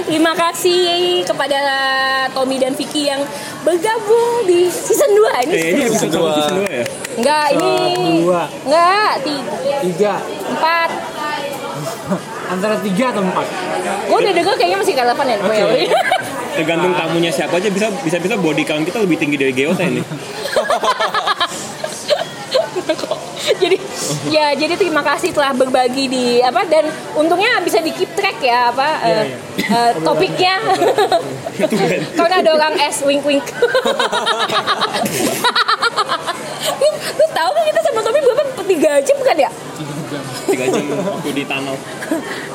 S1: Terima kasih kepada Tommy dan Vicky yang bergabung di season 2 ini
S3: eh, ini episode
S4: Kedua.
S3: berapa season dua ya
S1: Enggak, ini
S2: Dua.
S1: Enggak, tiga,
S2: Tiga.
S1: empat
S2: Antara tiga atau empat.
S1: Gue udah denger kayaknya masih relevan ya
S2: Oke.
S1: Boy.
S3: tergantung tamunya siapa aja bisa bisa bisa body count kita lebih tinggi dari Geota ini
S1: jadi ya jadi terima kasih telah berbagi di apa dan untungnya bisa di keep track ya apa
S4: Iya,
S1: eh, eh, topiknya
S4: kan.
S1: karena ada orang es wink wink lu, lu tahu kan kita sama Tommy berapa tiga jam kan ya
S3: tiga jam waktu di tunnel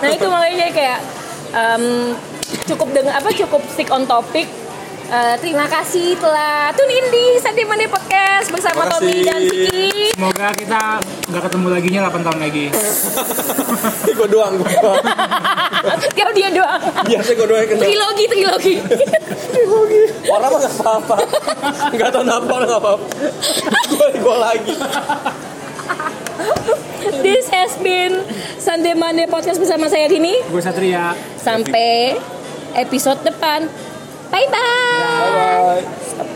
S1: nah itu makanya kayak em, cukup dengan apa cukup stick on topic Eh, terima kasih telah tune in di Santai Mandi Podcast bersama
S4: Terima
S1: Tommy
S4: kasih.
S1: dan Vicky.
S2: Semoga kita nggak ketemu lagi nya 8 tahun lagi.
S4: gue doang gue doang.
S1: Kalau dia doang.
S4: biasa gue doang yang kena
S1: Trilogi, trilogi.
S4: orang mah nggak apa-apa nggak tahu kenapa orang nggak apa-apa gue gue lagi
S1: This has been Sunday Monday Podcast bersama saya Dini.
S2: Gue Satria.
S1: Sampai episode depan. Bye-bye.
S4: bye